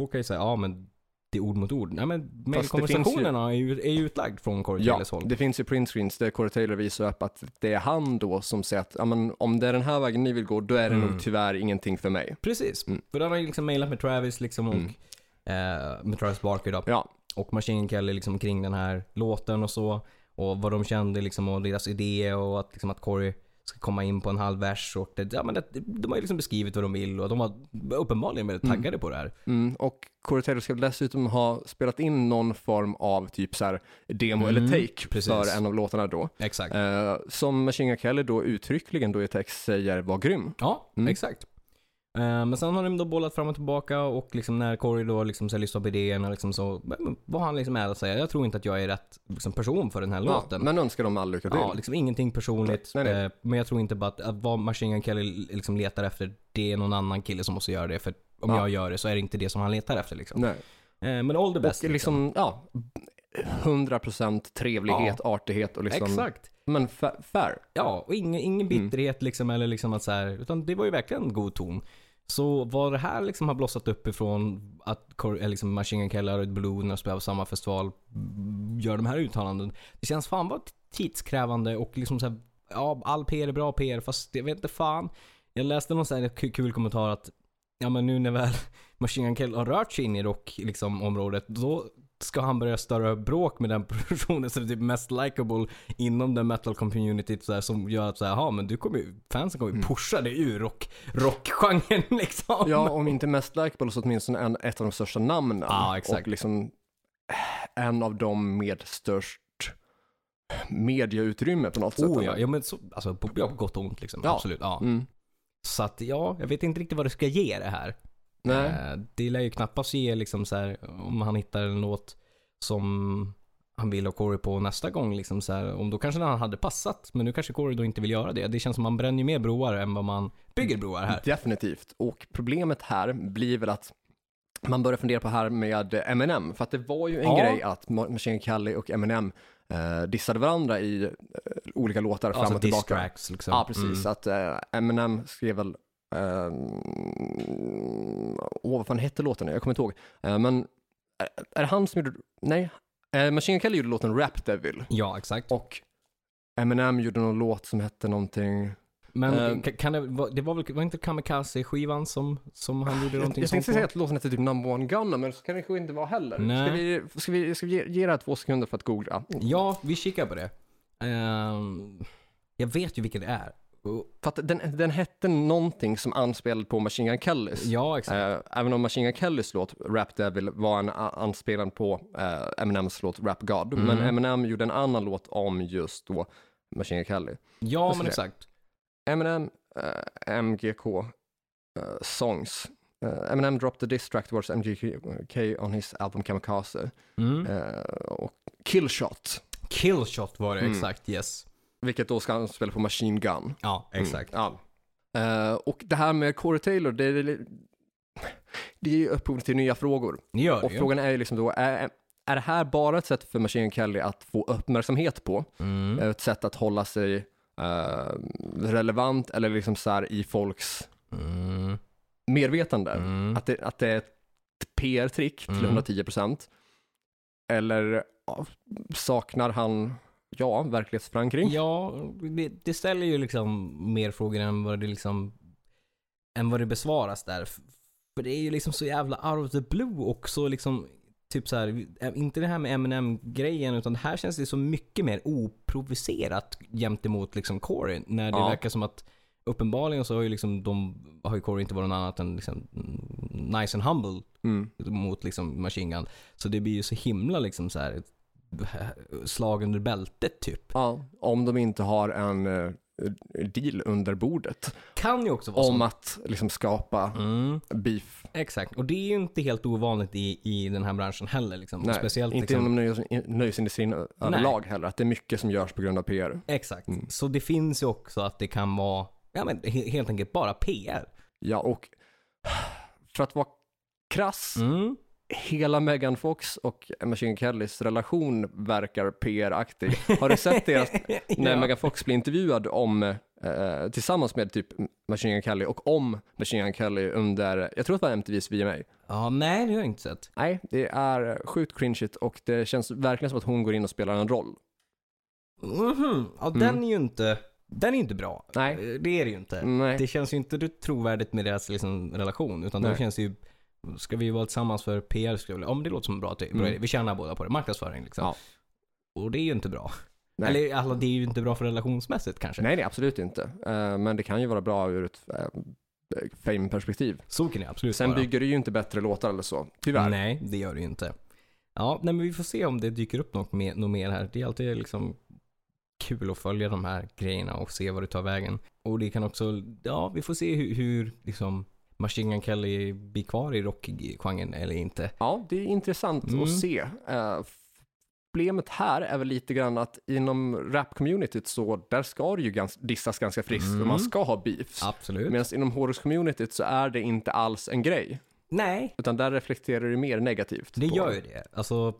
[SPEAKER 2] folk kan ju säga ja men det är ord mot ord. Nej men
[SPEAKER 1] finns ju-
[SPEAKER 2] mailkonversationerna är ju, är ju utlagd från Corey
[SPEAKER 1] Ja,
[SPEAKER 2] Taylors håll.
[SPEAKER 1] det finns ju printscreens där Corey Taylor visar upp att det är han då som säger att ja, men, om det är den här vägen ni vill gå, då är det
[SPEAKER 2] Mm.
[SPEAKER 1] nog tyvärr ingenting för mig.
[SPEAKER 2] Precis.
[SPEAKER 1] Mm.
[SPEAKER 2] För där har jag liksom mailat med Travis liksom och eh, med Travis Barker då.
[SPEAKER 1] Ja,
[SPEAKER 2] och Machine Gun Kelly liksom kring den här låten och så. Och vad de kände liksom och deras idé och att, liksom att Corey ska komma in på en halv vers. Och det, ja, men det, de har ju liksom beskrivit vad de vill och de var uppenbarligen väldigt taggade på det här.
[SPEAKER 1] mm. och Corey Taylor ska dessutom ha spelat in någon form av typ så här demo eller take
[SPEAKER 2] Mm, precis.
[SPEAKER 1] för en av låtarna då.
[SPEAKER 2] Exakt.
[SPEAKER 1] Eh, som Machine Gun Kelly då uttryckligen då i text säger var grym.
[SPEAKER 2] Ja,
[SPEAKER 1] Mm.
[SPEAKER 2] exakt. Eh, Men sen har de då bollat fram och tillbaka och liksom när Corey då liksom så här lyssnar på idéerna liksom så var han liksom ärlig och säger jag tror inte att jag är rätt liksom person för den här
[SPEAKER 1] Ja,
[SPEAKER 2] låten.
[SPEAKER 1] men önskar dem all lycka till.
[SPEAKER 2] Ja, liksom ingenting personligt.
[SPEAKER 1] Nej, nej.
[SPEAKER 2] eh, Men jag tror inte bara att, att vad Machine Gun Kelly liksom letar efter, det är någon annan kille som måste göra det. För om
[SPEAKER 1] Ja.
[SPEAKER 2] jag gör det så är det inte det som han letar efter liksom.
[SPEAKER 1] Nej.
[SPEAKER 2] Eh, Men all the best.
[SPEAKER 1] Och liksom, ja, 100% trevlighet, artighet och liksom,
[SPEAKER 2] Exakt.
[SPEAKER 1] men fa- fair.
[SPEAKER 2] Ja, och ingen, ingen bitterhet liksom eller liksom att så här, utan det var ju verkligen en god ton. Så vad det här liksom har blossat upp ifrån att Cor- eller liksom Machine Gun Kelly och Red Balloon när de spelar på samma festival mm, gör de här uttalanden. Det känns fan vad tidskrävande och liksom så här, ja all PR är bra PR fast jag vet inte fan. Jag läste någon så här ku- kul kommentar att ja men nu när väl [LAUGHS] Machine Gun Kelly har rört sig in i rock liksom området då ska han börja störa bråk med den [LAUGHS] personen som är typ mest likable inom den metal communityt så här, som gör att så här, "Jaha, men du kommer ju, fansen kommer ju pusha dig ur rock, rockgenren [LAUGHS] liksom.
[SPEAKER 1] Mm. Ja, om inte mest likeable så åtminstone en, ett av de största namnen.
[SPEAKER 2] Ja, exakt.
[SPEAKER 1] Och liksom en av dem med störst medieutrymme på något sätt.
[SPEAKER 2] Oh,
[SPEAKER 1] eller?
[SPEAKER 2] ja, ja men så, alltså på, ja, på gott och ont liksom.
[SPEAKER 1] Ja.
[SPEAKER 2] Absolut. Ja.
[SPEAKER 1] Mm.
[SPEAKER 2] Så att ja, jag vet inte riktigt vad det ska ge det här.
[SPEAKER 1] Nej.
[SPEAKER 2] Eh, Det lär ju knappast ge liksom så här, om han hittar en låt som han vill ha Corey på nästa gång. Liksom så här, om då kanske den hade passat, men nu kanske Corey då inte vill göra det. Det känns som man bränner ju mer broar än vad man bygger broar här.
[SPEAKER 1] Definitivt. Och problemet här blir väl att man börjar fundera på här med Eminem, för att det var ju en
[SPEAKER 2] Ja.
[SPEAKER 1] grej att Ma- Machine Gun Kelly och Eminem eh, dissade varandra i eh, olika låtar fram
[SPEAKER 2] Alltså
[SPEAKER 1] och tillbaka.
[SPEAKER 2] distracks liksom.
[SPEAKER 1] Ja, precis.
[SPEAKER 2] Mm.
[SPEAKER 1] Att eh, Eminem skrev väl, eh, åh vad fan hette låten nu? Jag kommer inte ihåg. Eh, men är, är det han som gjorde, nej, eh, Machine Gun Kelly gjorde låten Rap Devil
[SPEAKER 2] Ja, exakt.
[SPEAKER 1] och Eminem gjorde någon låt som hette någonting,
[SPEAKER 2] Men
[SPEAKER 1] Eh,
[SPEAKER 2] ka- kan det, va- det var väl var inte Kamikaze-skivan som, som han gjorde
[SPEAKER 1] jag,
[SPEAKER 2] någonting
[SPEAKER 1] jag
[SPEAKER 2] sånt
[SPEAKER 1] tänkte
[SPEAKER 2] på?
[SPEAKER 1] säga att låten hette typ Number One Gunna, men så kan det kanske inte vara heller.
[SPEAKER 2] Nej.
[SPEAKER 1] Ska vi, ska vi, ska vi ge, ge det här två sekunder för att googla?
[SPEAKER 2] Ja, vi kikar på det. Ehm, jag vet ju vilken det är. Och-
[SPEAKER 1] För att den, den hette någonting som anspelade på Machine Gun Kellys.
[SPEAKER 2] Ja, exakt.
[SPEAKER 1] Eh, även om Machine Gun Kellys låt Rap Devil var en a- anspelan på eh, Eminems låt Rap God,
[SPEAKER 2] Mm.
[SPEAKER 1] men Eminem gjorde en annan låt om just då Machine Gun Kelly.
[SPEAKER 2] ja, men
[SPEAKER 1] se.
[SPEAKER 2] exakt.
[SPEAKER 1] Eminem, eh, MGK, eh, Songs. Eh, Eminem dropped a diss track towards MGK on his album Kamikaze.
[SPEAKER 2] Mm.
[SPEAKER 1] Eh, och Killshot,
[SPEAKER 2] Killshot var det,
[SPEAKER 1] Mm.
[SPEAKER 2] exakt. Yes.
[SPEAKER 1] vilket då ska anspela på Machine Gun. Mm.
[SPEAKER 2] Ja, exakt.
[SPEAKER 1] Ja. Eh, och det här med Corey Taylor, det är, det är ju upphov till nya frågor.
[SPEAKER 2] Ni gör
[SPEAKER 1] Och
[SPEAKER 2] det ju.
[SPEAKER 1] frågan är ju liksom då, är, är det här bara ett sätt för Machine Gun Kelly att få uppmärksamhet på?
[SPEAKER 2] Mm.
[SPEAKER 1] Ett sätt att hålla sig eh, relevant eller liksom så här i folks
[SPEAKER 2] Mm.
[SPEAKER 1] medvetande?
[SPEAKER 2] Mm.
[SPEAKER 1] Att, det, att det är ett PR-trick till
[SPEAKER 2] Mm.
[SPEAKER 1] 110 procent? Eller ja, saknar han, ja, verklighetsförankring?
[SPEAKER 2] Ja, det, det ställer ju liksom mer frågor än vad det liksom än vad det besvaras där. F- För det är ju liksom så jävla out of the blue också liksom typ så här, eh, inte det här med mm grejen utan det här känns det så mycket mer oprovocerat gentemot liksom Corey när det
[SPEAKER 1] Ja.
[SPEAKER 2] verkar som att uppenbarligen så har ju liksom de, har ju Corey inte varit något annat än liksom mm, nice and humble
[SPEAKER 1] Mm.
[SPEAKER 2] mot liksom Machine Gun. Så det blir ju så himla liksom så här slag under bältet typ.
[SPEAKER 1] Ja, om de inte har en eh, deal under bordet
[SPEAKER 2] Kan ju också vara
[SPEAKER 1] om
[SPEAKER 2] så.
[SPEAKER 1] att liksom skapa
[SPEAKER 2] Mm,
[SPEAKER 1] beef.
[SPEAKER 2] exakt. Och det är ju inte helt ovanligt i, i den här branschen heller. Liksom.
[SPEAKER 1] Nej,
[SPEAKER 2] Speciellt
[SPEAKER 1] inte
[SPEAKER 2] liksom,
[SPEAKER 1] inom nöjes, nöjesindustrin ö-
[SPEAKER 2] Nej.
[SPEAKER 1] överlag heller, att det är mycket som görs på grund av PR.
[SPEAKER 2] Exakt.
[SPEAKER 1] Mm.
[SPEAKER 2] Så det finns ju också att det kan vara ja, men, he- helt enkelt bara PR.
[SPEAKER 1] Ja, och [SIGHS] för att vara krass,
[SPEAKER 2] Mm.
[SPEAKER 1] hela Megan Fox och Machine Gun Kellys relation verkar PR-aktig. Har du sett deras, när
[SPEAKER 2] [LAUGHS] Ja.
[SPEAKER 1] Megan Fox blir intervjuad om eh, eh, tillsammans med typ Machine Gun Kelly och om Machine Gun Kelly under, jag tror att det var MTVs VMA.
[SPEAKER 2] Ja, nej det har jag inte sett.
[SPEAKER 1] Nej, det är sjukt cringeigt och det känns verkligen som att hon går in och spelar en roll.
[SPEAKER 2] Mhm. Ja, den är ju inte, den är inte bra.
[SPEAKER 1] Mm. Nej.
[SPEAKER 2] Eh, Det är det ju inte.
[SPEAKER 1] Nej.
[SPEAKER 2] Det känns ju inte trovärdigt med deras liksom, relation. Utan det
[SPEAKER 1] Nej.
[SPEAKER 2] känns det ju, ska vi vara tillsammans för PR skulle Om det låter som en bra idé.
[SPEAKER 1] Mm.
[SPEAKER 2] Vi tjänar båda på det. Marknadsföring liksom.
[SPEAKER 1] Ja.
[SPEAKER 2] Och det är ju inte bra.
[SPEAKER 1] Nej.
[SPEAKER 2] Eller alla, det är ju inte bra för relationsmässigt kanske.
[SPEAKER 1] Nej, nej, absolut inte. Eh, men det kan ju vara bra ur ett eh, fame-perspektiv.
[SPEAKER 2] Så kan det absolut
[SPEAKER 1] Sen
[SPEAKER 2] vara.
[SPEAKER 1] bygger det ju inte bättre låtar eller så, tyvärr.
[SPEAKER 2] Nej, det gör det ju inte. Ja, nej, men vi får se om det dyker upp något, mer- något mer här. Det är alltid liksom kul att följa de här grejerna och se vad det tar vägen. Och det kan också, ja vi får se hur, hur liksom Machine Gun Kelly blir kvar i rockgenren eller inte.
[SPEAKER 1] Ja, det är intressant
[SPEAKER 2] Mm.
[SPEAKER 1] att se. Eh, problemet här är väl lite grann att inom rap-communityt så där ska det ju gans- dissas ganska friskt och
[SPEAKER 2] Mm.
[SPEAKER 1] man ska ha beefs.
[SPEAKER 2] Absolut.
[SPEAKER 1] Medan inom Horus-communityt så är det inte alls en grej,
[SPEAKER 2] nej,
[SPEAKER 1] utan där reflekterar det mer negativt.
[SPEAKER 2] det
[SPEAKER 1] på-
[SPEAKER 2] gör ju det. Alltså,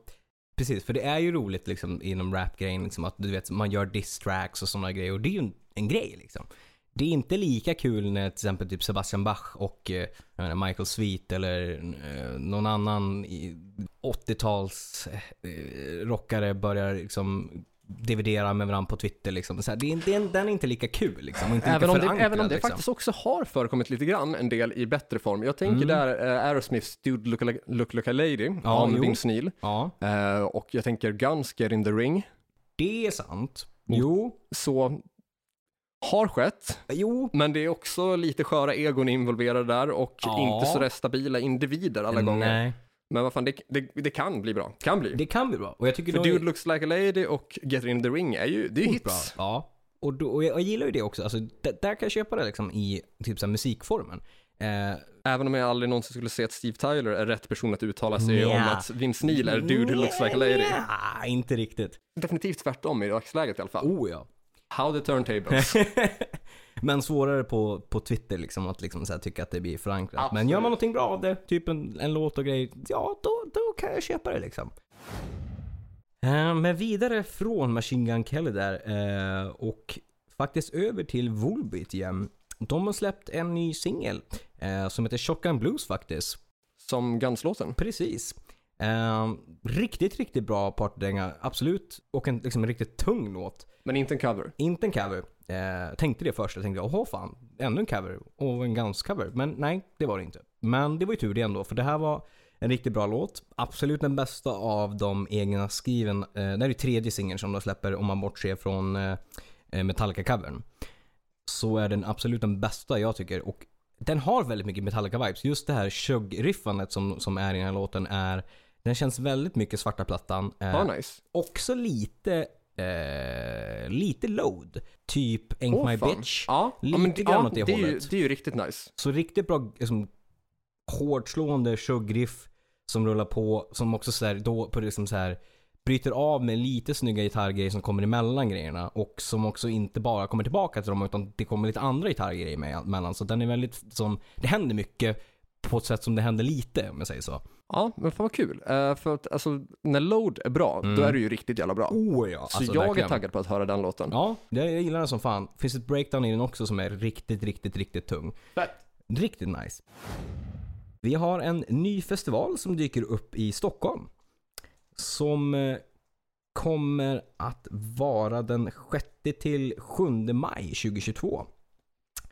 [SPEAKER 2] precis. För det är ju roligt liksom inom rapgrejen liksom att du vet, man gör diss-tracks och sådana grejer. Och det är ju en, en grej liksom. Det är inte lika kul när till exempel typ Sebastian Bach och eh, jag menar, Michael Sweet eller eh, någon annan i 80-tals eh, rockare börjar liksom dividera med varandra på Twitter liksom. Så här, det är, det är, den är inte lika kul liksom. Och inte
[SPEAKER 1] Även
[SPEAKER 2] lika
[SPEAKER 1] om, det,
[SPEAKER 2] förankrad,
[SPEAKER 1] även om det
[SPEAKER 2] liksom.
[SPEAKER 1] faktiskt också har förekommit lite grann, en del i bättre form. Jag tänker där eh, Aerosmiths Dude Look, Like- Look Like a Lady
[SPEAKER 2] Mm. Ja,
[SPEAKER 1] om
[SPEAKER 2] jo.
[SPEAKER 1] Vince Neil.
[SPEAKER 2] Ja,
[SPEAKER 1] Eh, och jag tänker Guns Get In The Ring.
[SPEAKER 2] det är sant.
[SPEAKER 1] Mot-
[SPEAKER 2] Jo,
[SPEAKER 1] Så har skett,
[SPEAKER 2] jo.
[SPEAKER 1] men det är också lite sköra egon involverade där och
[SPEAKER 2] Ja.
[SPEAKER 1] inte så där stabila individer alla gånger.
[SPEAKER 2] Nej.
[SPEAKER 1] Men vad fan, det, det, det kan bli bra. Kan bli.
[SPEAKER 2] Det kan bli bra. Och jag tycker
[SPEAKER 1] För
[SPEAKER 2] de är-
[SPEAKER 1] Dude Looks Like a Lady och Get In The Ring är ju, det är ju
[SPEAKER 2] Sjukt
[SPEAKER 1] hits.
[SPEAKER 2] Bra. Ja. Och, då, och jag, jag gillar ju det också. Alltså, d- där kan jag köpa det liksom i typ så här musikformen. Eh,
[SPEAKER 1] Även om jag aldrig någonsin skulle se att Steve Tyler är rätt person att uttala sig
[SPEAKER 2] Nja.
[SPEAKER 1] om att Vince Neil är Dude Who Looks Like a Lady.
[SPEAKER 2] nja, inte riktigt.
[SPEAKER 1] Definitivt tvärtom i dagsläget i alla fall.
[SPEAKER 2] Oh ja.
[SPEAKER 1] How the
[SPEAKER 2] [LAUGHS]
[SPEAKER 1] turntables.
[SPEAKER 2] Men svårare på, på Twitter liksom att liksom så här tycka att det blir förankrat. Men
[SPEAKER 1] Absolut.
[SPEAKER 2] gör man någonting bra av det, typ en, en låt och grej, ja då, då kan jag köpa det liksom. Eh, Men vidare från Machine Gun Kelly där eh, och faktiskt över till Volbeat igen. De har släppt en ny singel eh, som heter Shotgun Blues faktiskt.
[SPEAKER 1] Som Guns-låten.
[SPEAKER 2] Precis. Ehm, riktigt, riktigt bra partydänga. Absolut. Och en liksom, riktigt tung låt.
[SPEAKER 1] Men inte en cover.
[SPEAKER 2] Inte en cover. Eh, tänkte det först. Jag tänkte, åh fan, ännu en cover. Och en Guns-cover. Men nej, det var det inte. Men det var ju tur det ändå, för det här var en riktigt bra låt. Absolut den bästa av de egna skriven. Eh, det här är ju tredje singeln som de släpper om man bortser från eh, eh, Metallica-covern. Så är den absolut den bästa jag tycker. Och den har väldigt mycket Metallica-vibes. Just det här chugg-riffandet som, som är i den här låten är den känns väldigt mycket svarta plattan. Eh,
[SPEAKER 1] Ja, nice.
[SPEAKER 2] också lite, eh, lite load. Typ Ain't
[SPEAKER 1] Åh,
[SPEAKER 2] My
[SPEAKER 1] fan.
[SPEAKER 2] Bitch.
[SPEAKER 1] Ja,
[SPEAKER 2] Lite
[SPEAKER 1] ja, men,
[SPEAKER 2] grann
[SPEAKER 1] ja,
[SPEAKER 2] åt det
[SPEAKER 1] är ju,
[SPEAKER 2] hållet.
[SPEAKER 1] det är ju riktigt nice.
[SPEAKER 2] Så riktigt bra, liksom, hårt slående chuggriff som rullar på. Som också så här, då på det som så här bryter av med lite snygga gitarrgrejer som kommer emellan grejerna. Och som också inte bara kommer tillbaka till dem utan det kommer lite andra gitarrgrejer med- emellan. Så den är väldigt, som, det händer mycket på ett sätt som det händer lite om jag säger så.
[SPEAKER 1] Ja, men fan vad kul. Eh, för att alltså, när Load är bra, då är det ju riktigt jävla bra.
[SPEAKER 2] Mm. Oh ja,
[SPEAKER 1] Så jag är taggad på att höra den låten.
[SPEAKER 2] Ja, det- jag gillar den som fan. Finns ett breakdown i den också som är riktigt, riktigt, riktigt tung.
[SPEAKER 1] Fett.
[SPEAKER 2] Riktigt nice. Vi har en ny festival som dyker upp i Stockholm. Som eh, kommer att vara den 6 till 7 maj 2022.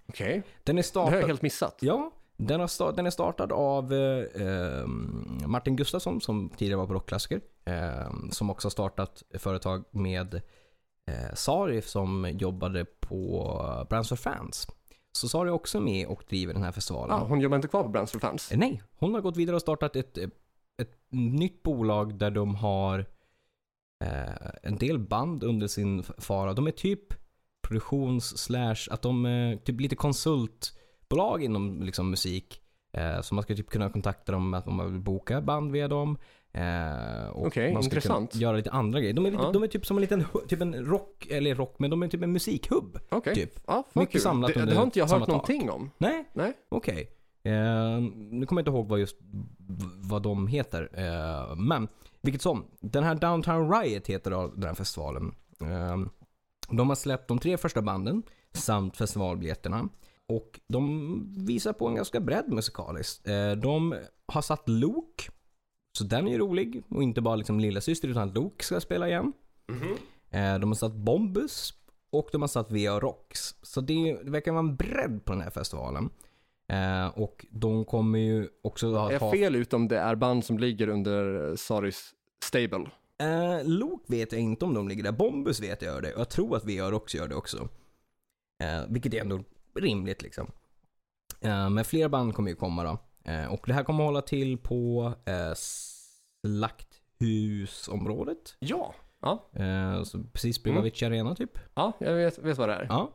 [SPEAKER 1] Okej,
[SPEAKER 2] Den är
[SPEAKER 1] det har
[SPEAKER 2] startad...
[SPEAKER 1] jag helt missat.
[SPEAKER 2] Ja, den, har sta- den är startad av eh, eh, Martin Gustafsson som tidigare var på Rockklassiker. Eh, som också har startat företag med eh, Sarif som jobbade på Brands for Fans. Så Sarif är också med och driver den här festivalen.
[SPEAKER 1] Ah, hon jobbar inte kvar på Brands for Fans.
[SPEAKER 2] Eh, Nej, hon har gått vidare och startat ett, eh, ett nytt bolag där de har eh, en del band under sin f- fara. De är typ produktions slash att de är typ lite konsultbolag inom liksom musik. Eh, så man ska typ kunna kontakta dem med att man vill boka band via dem. Eh, och
[SPEAKER 1] Okej,
[SPEAKER 2] man ska kunna
[SPEAKER 1] intressant.
[SPEAKER 2] Göra lite andra grejer. De är, lite,
[SPEAKER 1] Ja.
[SPEAKER 2] de är typ som en liten hu- typ en rock, eller rock, men de är typ en musikhubb.
[SPEAKER 1] Okej.
[SPEAKER 2] Typ.
[SPEAKER 1] Ja, fan
[SPEAKER 2] Mycket
[SPEAKER 1] kul.
[SPEAKER 2] samlat
[SPEAKER 1] det,
[SPEAKER 2] under
[SPEAKER 1] det har inte jag
[SPEAKER 2] samma
[SPEAKER 1] hört
[SPEAKER 2] tak.
[SPEAKER 1] någonting om.
[SPEAKER 2] Nej,
[SPEAKER 1] Nej.
[SPEAKER 2] Okej. Eh, nu kommer jag inte ihåg vad just v- vad de heter. Eh, men vilket som. Den här Ehm, Downtown Riot heter då den här festivalen. Eh, de har släppt de tre första banden. samt festivalbiljetterna. Och de visar på en ganska bredd musikaliskt. Eh, De har satt Luke, så den är ju rolig. Och inte bara liksom lilla syster utan Luke ska spela igen. Eh, De har satt Bombus och de har satt VA Rocks. Så det det verkar vara en bredd på den här festivalen. Eh, Och de kommer ju också
[SPEAKER 1] Är
[SPEAKER 2] ha...
[SPEAKER 1] jag
[SPEAKER 2] ha
[SPEAKER 1] fel utom det är band som ligger under eh, Saris stable?
[SPEAKER 2] Eh, Lok vet jag inte om de ligger där. Bombus vet jag gör det. Och jag tror att VR också gör det också. Eh, vilket är ändå rimligt liksom. Eh, men fler band kommer ju komma då. Eh, och det här kommer hålla till på eh, Slakthusområdet.
[SPEAKER 1] Ja. Ja,
[SPEAKER 2] Eh, så precis bredvid
[SPEAKER 1] Mm.
[SPEAKER 2] Avicii Arena typ.
[SPEAKER 1] ja jag vet, vet vad det är.
[SPEAKER 2] Ja.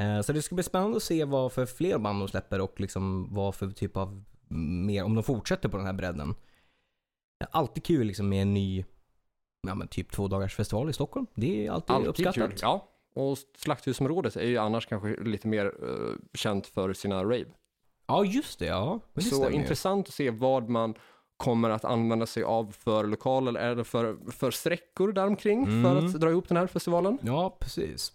[SPEAKER 2] Eh, så det ska bli spännande att se vad för fler band de släpper och liksom vad för typ av mer, om de fortsätter på den här bredden. Det är alltid kul liksom med en ny, ja men typ två dagars festival i Stockholm. Det är alltid,
[SPEAKER 1] Alltid
[SPEAKER 2] uppskattat.
[SPEAKER 1] kul. Ja. Och Slakthusområdet är ju annars kanske lite mer eh, känt för sina rave.
[SPEAKER 2] Ja, just det. Ja. Men det
[SPEAKER 1] Så
[SPEAKER 2] stämmer ju.
[SPEAKER 1] intressant att se vad man kommer att använda sig av för lokaler eller för, för sträckor däromkring för
[SPEAKER 2] Mm.
[SPEAKER 1] att dra ihop den här festivalen.
[SPEAKER 2] Ja, precis.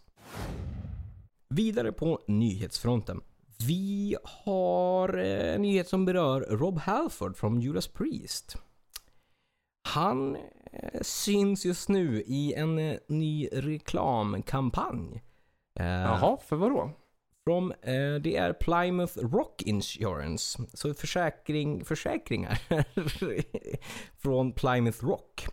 [SPEAKER 2] Vidare på nyhetsfronten. Vi har eh, en nyhet som berör Rob Halford från Judas Priest. Han eh, syns just nu i en eh, ny reklamkampanj. Eh,
[SPEAKER 1] Jaha, för vadå?
[SPEAKER 2] Från, eh, det är Plymouth Rock Insurance. Så försäkring, försäkringar [LAUGHS] från Plymouth Rock.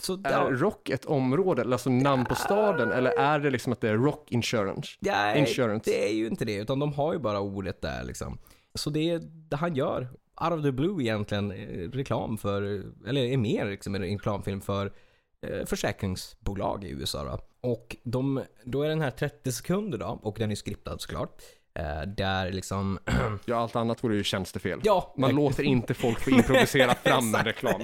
[SPEAKER 2] Så
[SPEAKER 1] Är rock ett område, eller alltså namn på staden, eller är det liksom att det är rock insurance?
[SPEAKER 2] Nej,
[SPEAKER 1] Insurance.
[SPEAKER 2] det är ju inte det. Utan de har ju bara ordet där liksom. Så det är det han gör. Out of the blue egentligen eh, reklam för, eller är mer liksom en reklamfilm för eh, försäkringsbolag i USA då. Och de, då är den här 30 sekunder då, och den är skriptad såklart. Eh, där liksom, [CLEARS THROAT]
[SPEAKER 1] Ja, allt annat vore ju tjänstefel.
[SPEAKER 2] ja.
[SPEAKER 1] Man låter inte folk få improvisera
[SPEAKER 2] [LAUGHS]
[SPEAKER 1] fram en reklam.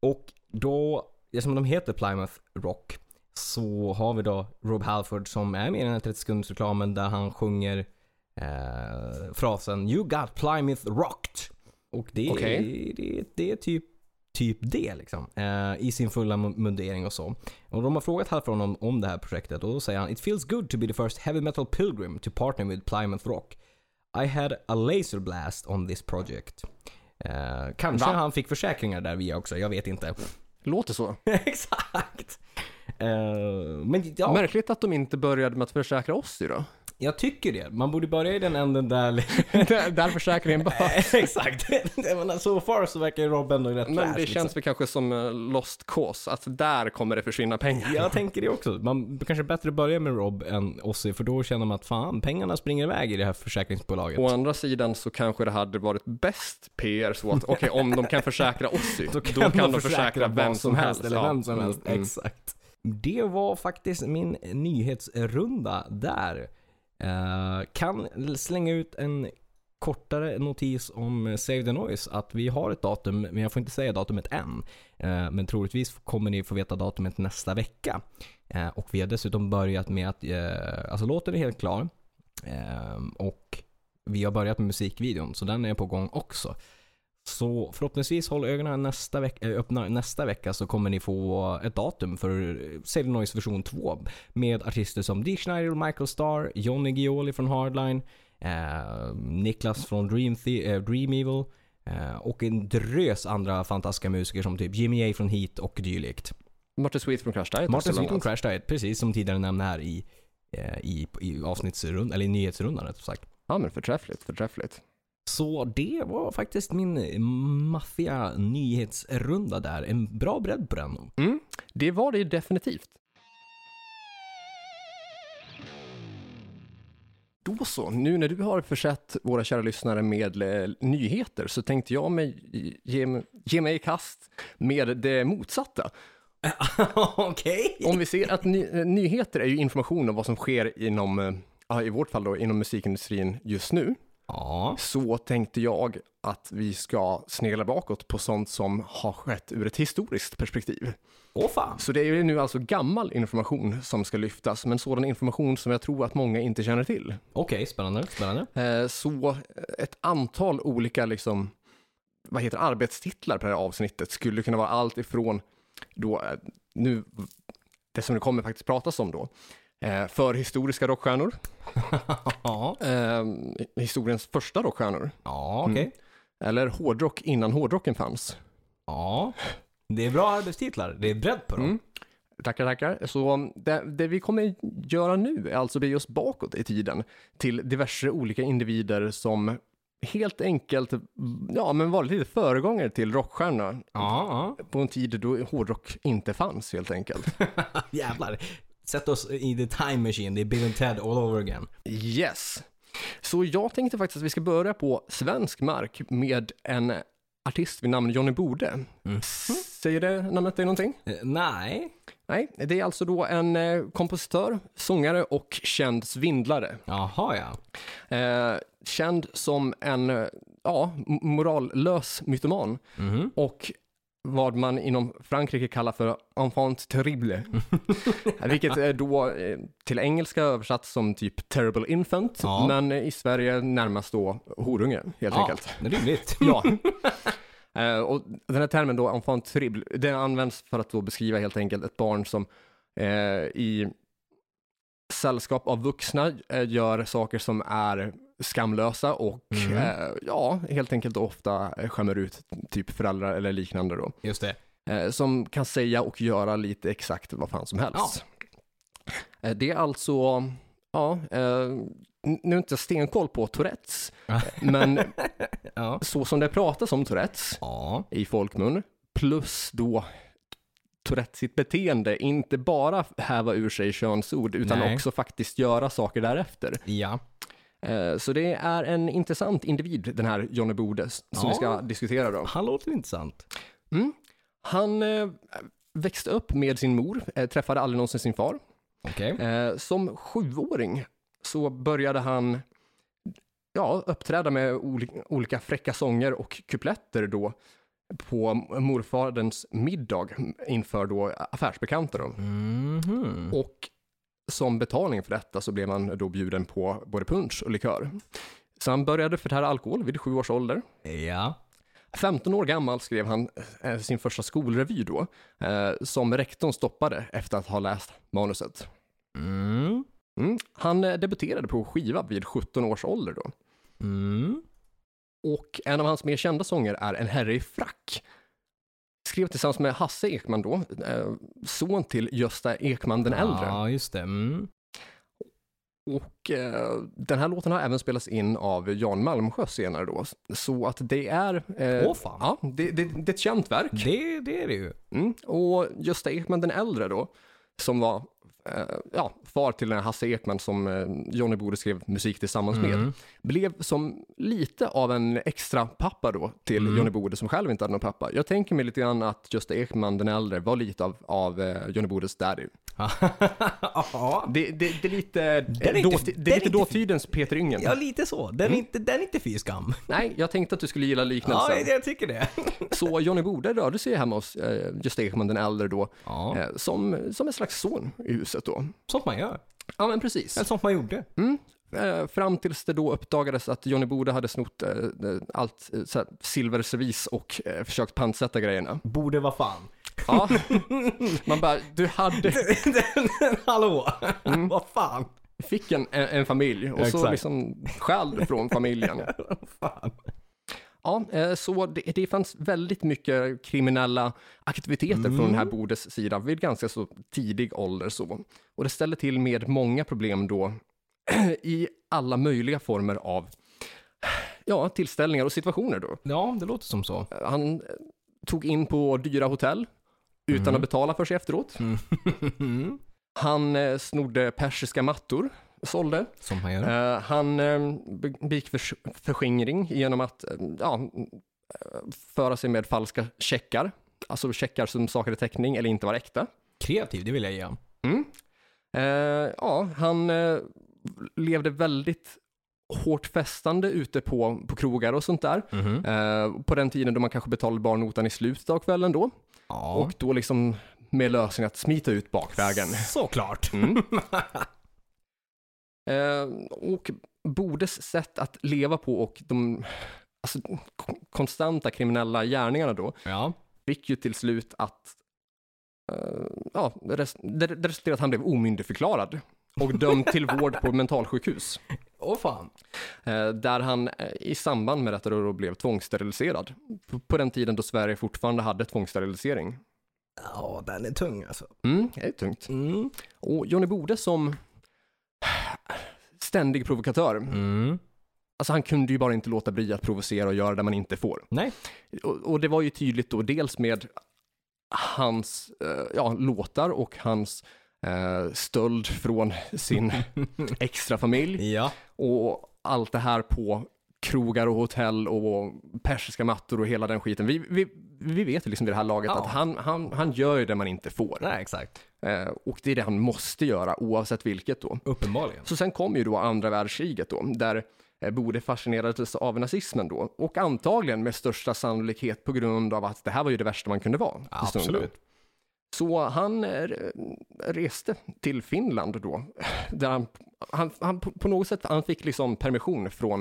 [SPEAKER 2] Och då, eftersom de heter Plymouth Rock, så har vi då Rob Halford som är med i den här 30 sekunders reklamen där han sjunger eh, frasen You got Plymouth rocked. Och det,
[SPEAKER 1] Okej.
[SPEAKER 2] det, det är typ, typ det liksom. Eh, I sin fulla mu- mundering och så. Och de har frågat Halford om, om det här projektet och då säger han It feels good to be the first heavy metal pilgrim to partner with Plymouth Rock. I had a laser blast on this project. Eh, kanske
[SPEAKER 1] Va?
[SPEAKER 2] han fick försäkringar där via också, jag vet inte. [LAUGHS]
[SPEAKER 1] Låter så.
[SPEAKER 2] Exakt! Eh, men ja,
[SPEAKER 1] Märkligt att de inte började med att försäkra oss ju då. [LAUGHS]
[SPEAKER 2] jag tycker det. Man borde börja i den änden där...
[SPEAKER 1] där, där försäkringen behövs.
[SPEAKER 2] Exakt! [LAUGHS] Jag menar, so far så verkar ju Rob ändå rätt
[SPEAKER 1] Men
[SPEAKER 2] fräsch, liksom.
[SPEAKER 1] det känns väl kanske som eh, lost cause, att där kommer det försvinna pengar.
[SPEAKER 2] liksom. Jag tänker det också. Man kanske bättre börja med Rob än Ossi, för då känner man att fan, pengarna springer iväg i det här försäkringsbolaget.
[SPEAKER 1] Å andra sidan så kanske det hade varit bäst PR så att okej, om de kan försäkra
[SPEAKER 2] [LAUGHS]
[SPEAKER 1] oss ju, då kan,
[SPEAKER 2] man
[SPEAKER 1] de försäkra vem som helst.
[SPEAKER 2] Eller
[SPEAKER 1] Ja.
[SPEAKER 2] vem som helst.
[SPEAKER 1] Mm, mm.
[SPEAKER 2] Exakt. Det var faktiskt min nyhetsrunda där. Eh, kan slänga ut en kortare notis om eh, Save the Noise. Att vi har ett datum, men jag får inte säga datumet än. Eh, men troligtvis kommer ni få veta datumet nästa vecka. Eh, och vi har dessutom börjat med att, eh, alltså låten är helt klar. Eh, och vi har börjat med musikvideon, så den är på gång också. Så förhoppningsvis håll ögonen nästa veck- eh, öppna nästa vecka så kommer ni få ett datum för Save the Noise version 2 med artister som Dee Schneider, Michael Starr, Johnny Gioli från Hardline, eh, Niklas från Dream, The- eh, Dream Evil eh, och en drös andra fantastiska musiker som typ Jimmy A från Heat och dylikt.
[SPEAKER 1] Martin Sweet från Crash Diet. också
[SPEAKER 2] Martin
[SPEAKER 1] bland
[SPEAKER 2] Sweet från
[SPEAKER 1] annat.
[SPEAKER 2] Crash Diet, precis som tidigare nämnde här i, eh, i, i avsnittsrundan, eller i nyhetsrundan rättare sagt.
[SPEAKER 1] Ja, men förträffligt, förträffligt.
[SPEAKER 2] Så det var faktiskt min maffiga nyhetsrunda där. En bra bredd
[SPEAKER 1] [LAUGHS]
[SPEAKER 2] på den.
[SPEAKER 1] Mm, det var det ju definitivt. Då så, nu när du har försett våra kära lyssnare med eh, nyheter så tänkte jag mig, ge, ge mig i kast med det motsatta.
[SPEAKER 2] Okej.
[SPEAKER 1] Om vi ser att ny, eh, nyheter är ju information om vad som sker inom, eh, ja, i vårt fall då, inom musikindustrin just nu,
[SPEAKER 2] Ja.
[SPEAKER 1] så tänkte jag att vi ska snegla bakåt på sånt som har skett ur ett historiskt perspektiv.
[SPEAKER 2] Åh fan.
[SPEAKER 1] Så det är ju nu alltså gammal information som ska lyftas, men sådan information som jag tror att många inte känner till.
[SPEAKER 2] Okej, spännande. Spännande.
[SPEAKER 1] Eh, Så ett antal olika liksom, vad heter det, arbetstitlar på det här avsnittet skulle kunna vara allt ifrån då, eh, nu, det som det kommer faktiskt pratas om då, eh, för historiska rockstjärnor.
[SPEAKER 2] Ja,
[SPEAKER 1] Eh, historiens första rockstjärnor.
[SPEAKER 2] ja
[SPEAKER 1] Mm.
[SPEAKER 2] okej.
[SPEAKER 1] Eller hårdrock innan hårdrocken fanns.
[SPEAKER 2] Ja. Det är bra arbetstitlar. Det är bredd på dem.
[SPEAKER 1] Mm. Tackar, tackar. Så det, det vi kommer göra nu är alltså bege oss bakåt i tiden till diverse olika individer som helt enkelt ja, men var lite föregångare till rockstjärnorna
[SPEAKER 2] Ja, [LAUGHS]
[SPEAKER 1] på en tid då hårdrock inte fanns helt enkelt.
[SPEAKER 2] ja. Jävlar. Sätt oss i the time machine. Det är Bill and Ted all over again.
[SPEAKER 1] Yes. Så jag tänkte faktiskt att vi ska börja på svensk mark med en artist vid namn Johnny Bode. Säger det namnet dig någonting?
[SPEAKER 2] Eh, nej.
[SPEAKER 1] Nej, det är alltså då en eh, kompositör, sångare och känd svindlare.
[SPEAKER 2] Jaha ja.
[SPEAKER 1] Eh, känd som en eh, ja, m- morallös mytoman
[SPEAKER 2] Mhm.
[SPEAKER 1] och vad man inom Frankrike kallar för enfant
[SPEAKER 2] [LAUGHS]
[SPEAKER 1] terrible. Vilket är då eh, till engelska översatt som typ terrible infant,
[SPEAKER 2] Ja.
[SPEAKER 1] men eh, i Sverige närmast då horunge helt
[SPEAKER 2] ja,
[SPEAKER 1] enkelt.
[SPEAKER 2] Rimligt.
[SPEAKER 1] [LAUGHS] Ja. Eh, och den här termen då, enfant terrible, den används för att då beskriva helt enkelt ett barn som eh, i sällskap av vuxna eh, gör saker som är skamlösa och
[SPEAKER 2] Mhm.
[SPEAKER 1] eh, ja, helt enkelt ofta eh, skämmer ut typ föräldrar eller liknande då.
[SPEAKER 2] Just det.
[SPEAKER 1] Eh, som kan säga och göra lite exakt vad fan som helst. Eh, det är alltså, ja, eh, n- nu är inte jag stenkoll på Tourettes,
[SPEAKER 2] Ja.
[SPEAKER 1] men
[SPEAKER 2] Ja.
[SPEAKER 1] så som det pratas om Tourettes
[SPEAKER 2] Ja.
[SPEAKER 1] i folkmun, plus då Tourettes sitt beteende, inte bara häva ur sig könsord, utan
[SPEAKER 2] Nej.
[SPEAKER 1] också faktiskt göra saker därefter.
[SPEAKER 2] Ja.
[SPEAKER 1] Eh, Så det är en intressant individ, den här Johnny Bode, s- som
[SPEAKER 2] Ja.
[SPEAKER 1] vi ska diskutera då.
[SPEAKER 2] Han låter intressant.
[SPEAKER 1] Han eh, växte upp med sin mor, eh, träffade aldrig någonsin sin far.
[SPEAKER 2] Okej.
[SPEAKER 1] Eh, Som sjuåring så började han ja, uppträda med oli- olika fräcka sånger och kupletter då på morfaderns middag inför då affärsbekanta. Då.
[SPEAKER 2] Mm.
[SPEAKER 1] Mm.
[SPEAKER 2] Mhm.
[SPEAKER 1] Och som betalning för detta så blev han då bjuden på både punsch och likör. Så han började förtära alkohol vid sju års ålder.
[SPEAKER 2] Ja.
[SPEAKER 1] 15 år gammal skrev han eh, sin första skolrevy då, eh, som rektorn stoppade efter att ha läst manuset.
[SPEAKER 2] Mm.
[SPEAKER 1] Mm. Han eh, debuterade på skiva vid 17 års ålder då.
[SPEAKER 2] Mm.
[SPEAKER 1] Och en av hans mer kända sånger är En herre i frack. Skrev tillsammans med Hasse Ekman då, eh, son till Gösta Ekman
[SPEAKER 2] Ah.
[SPEAKER 1] den äldre.
[SPEAKER 2] Ja, just det. Mm.
[SPEAKER 1] Och eh, den här låten har även spelats in av Jan Malmsjö senare då. Så att det är... eh,
[SPEAKER 2] Åh, fan.
[SPEAKER 1] Ja, det, det, det är ett känt verk.
[SPEAKER 2] Det, det är det ju.
[SPEAKER 1] Mm. Och Gösta Ekman den äldre då, som var eh, ja, far till den här Hasse Ekman som eh, Johnny Bode skrev musik tillsammans
[SPEAKER 2] Mm.
[SPEAKER 1] med, blev som lite av en extra pappa då till
[SPEAKER 2] Mm.
[SPEAKER 1] Johnny Bode som själv inte hade någon pappa. Jag tänker mig lite grann att Gösta Ekman den äldre var lite av, av eh, Johnny Bodes daddy.
[SPEAKER 2] [LAUGHS] ja.
[SPEAKER 1] Det, det, det är lite,
[SPEAKER 2] är inte-
[SPEAKER 1] dåti-
[SPEAKER 2] den
[SPEAKER 1] det
[SPEAKER 2] är
[SPEAKER 1] är lite
[SPEAKER 2] inte-
[SPEAKER 1] dåtidens Peter Yngen.
[SPEAKER 2] ja, lite så. Den är inte, den är inte fy [LAUGHS] skam.
[SPEAKER 1] Nej, jag tänkte att du skulle gilla
[SPEAKER 2] Ja,
[SPEAKER 1] liknelsen.
[SPEAKER 2] jag, jag tycker det.
[SPEAKER 1] Så Johnny Bode rörde sig hemma hos eh, Gösta Ekman den äldre då,
[SPEAKER 2] Ja,
[SPEAKER 1] eh, som, som en slags son i huset då.
[SPEAKER 2] sånt man gör.
[SPEAKER 1] Ja, men precis.
[SPEAKER 2] Eller sånt man gjorde.
[SPEAKER 1] Eh, fram tills det då uppdagades att Johnny Bode hade snott eh, eh, allt eh, såhär, silverservis och eh, försökt pantsätta grejerna.
[SPEAKER 2] Borde vara fan. [LAUGHS]
[SPEAKER 1] Ja. [LAUGHS] Man bara, du hade,
[SPEAKER 2] Hallå! [LAUGHS] Vad fan?
[SPEAKER 1] fick en, en en familj och så
[SPEAKER 2] Exakt.
[SPEAKER 1] liksom stjäl från familjen.
[SPEAKER 2] fan.
[SPEAKER 1] Ja, eh, så det, det fanns väldigt mycket kriminella aktiviteter från den här Bodes sida vid ganska så tidig ålder. Så. Och det ställde till med många problem då [CLEARS THROAT] i alla möjliga former av [CLEARS THROAT] ja, tillställningar och situationer då.
[SPEAKER 2] Ja, det låter som [LAUGHS] så.
[SPEAKER 1] han eh, tog in på dyra hotell utan att betala för sig efteråt.
[SPEAKER 2] Mm.
[SPEAKER 1] Han eh, snodde persiska mattor, sålde.
[SPEAKER 2] Som man gör.
[SPEAKER 1] Eh, han eh, begick förs- förskingring genom att eh, ja, eh, föra sig med falska checkar. Alltså checkar som saknade täckning eller inte var äkta.
[SPEAKER 2] Kreativ, det vill jag ge.
[SPEAKER 1] Eh, ja, han eh, levde väldigt hårt festande ute på, på krogar och sånt där.
[SPEAKER 2] Mhm.
[SPEAKER 1] Eh, på den tiden då man kanske betalade barnotan i slutet av kvällen då.
[SPEAKER 2] Ja.
[SPEAKER 1] Och då liksom med lösningen att smita ut bakvägen.
[SPEAKER 2] Såklart.
[SPEAKER 1] Eh, och Bodes sätt att leva på och de alltså, k- konstanta kriminella gärningarna då
[SPEAKER 2] Ja.
[SPEAKER 1] fick ju till slut att eh, ja, res- det det resulterade i att han blev omyndigförklarad och dömd till vård på mentalsjukhus.
[SPEAKER 2] Åh fan.
[SPEAKER 1] Eh, där han eh, i samband med detta då då blev tvångssteriliserad. På, på den tiden då Sverige fortfarande hade tvångssterilisering.
[SPEAKER 2] Ja, den är tung alltså.
[SPEAKER 1] Mm, det är tungt.
[SPEAKER 2] Mm.
[SPEAKER 1] Och Johnny Bode som ständig provokatör.
[SPEAKER 2] Mm.
[SPEAKER 1] Alltså han kunde ju bara inte låta bli att provocera och göra det man inte får.
[SPEAKER 2] Nej.
[SPEAKER 1] Och, och det var ju tydligt då dels med hans eh, ja, låtar och hans eh, stöld från
[SPEAKER 2] [LAUGHS]
[SPEAKER 1] sin extra familj
[SPEAKER 2] Ja.
[SPEAKER 1] och allt det här på krogar och hotell och persiska mattor och hela den skiten. Vi, vi, vi vet ju liksom vid det här laget
[SPEAKER 2] Ja.
[SPEAKER 1] att han, han, han gör ju det man inte får.
[SPEAKER 2] Nej, exakt.
[SPEAKER 1] Eh, och det är det han måste göra oavsett vilket då.
[SPEAKER 2] Uppenbarligen.
[SPEAKER 1] Så sen kom ju då andra världskriget då, där eh, Bode fascinerades av nazismen då. Och antagligen med största sannolikhet på grund av att det här var ju det värsta man kunde vara. för stunden. Så han eh, reste till Finland då, där han, han, han på på något sätt han fick liksom permission från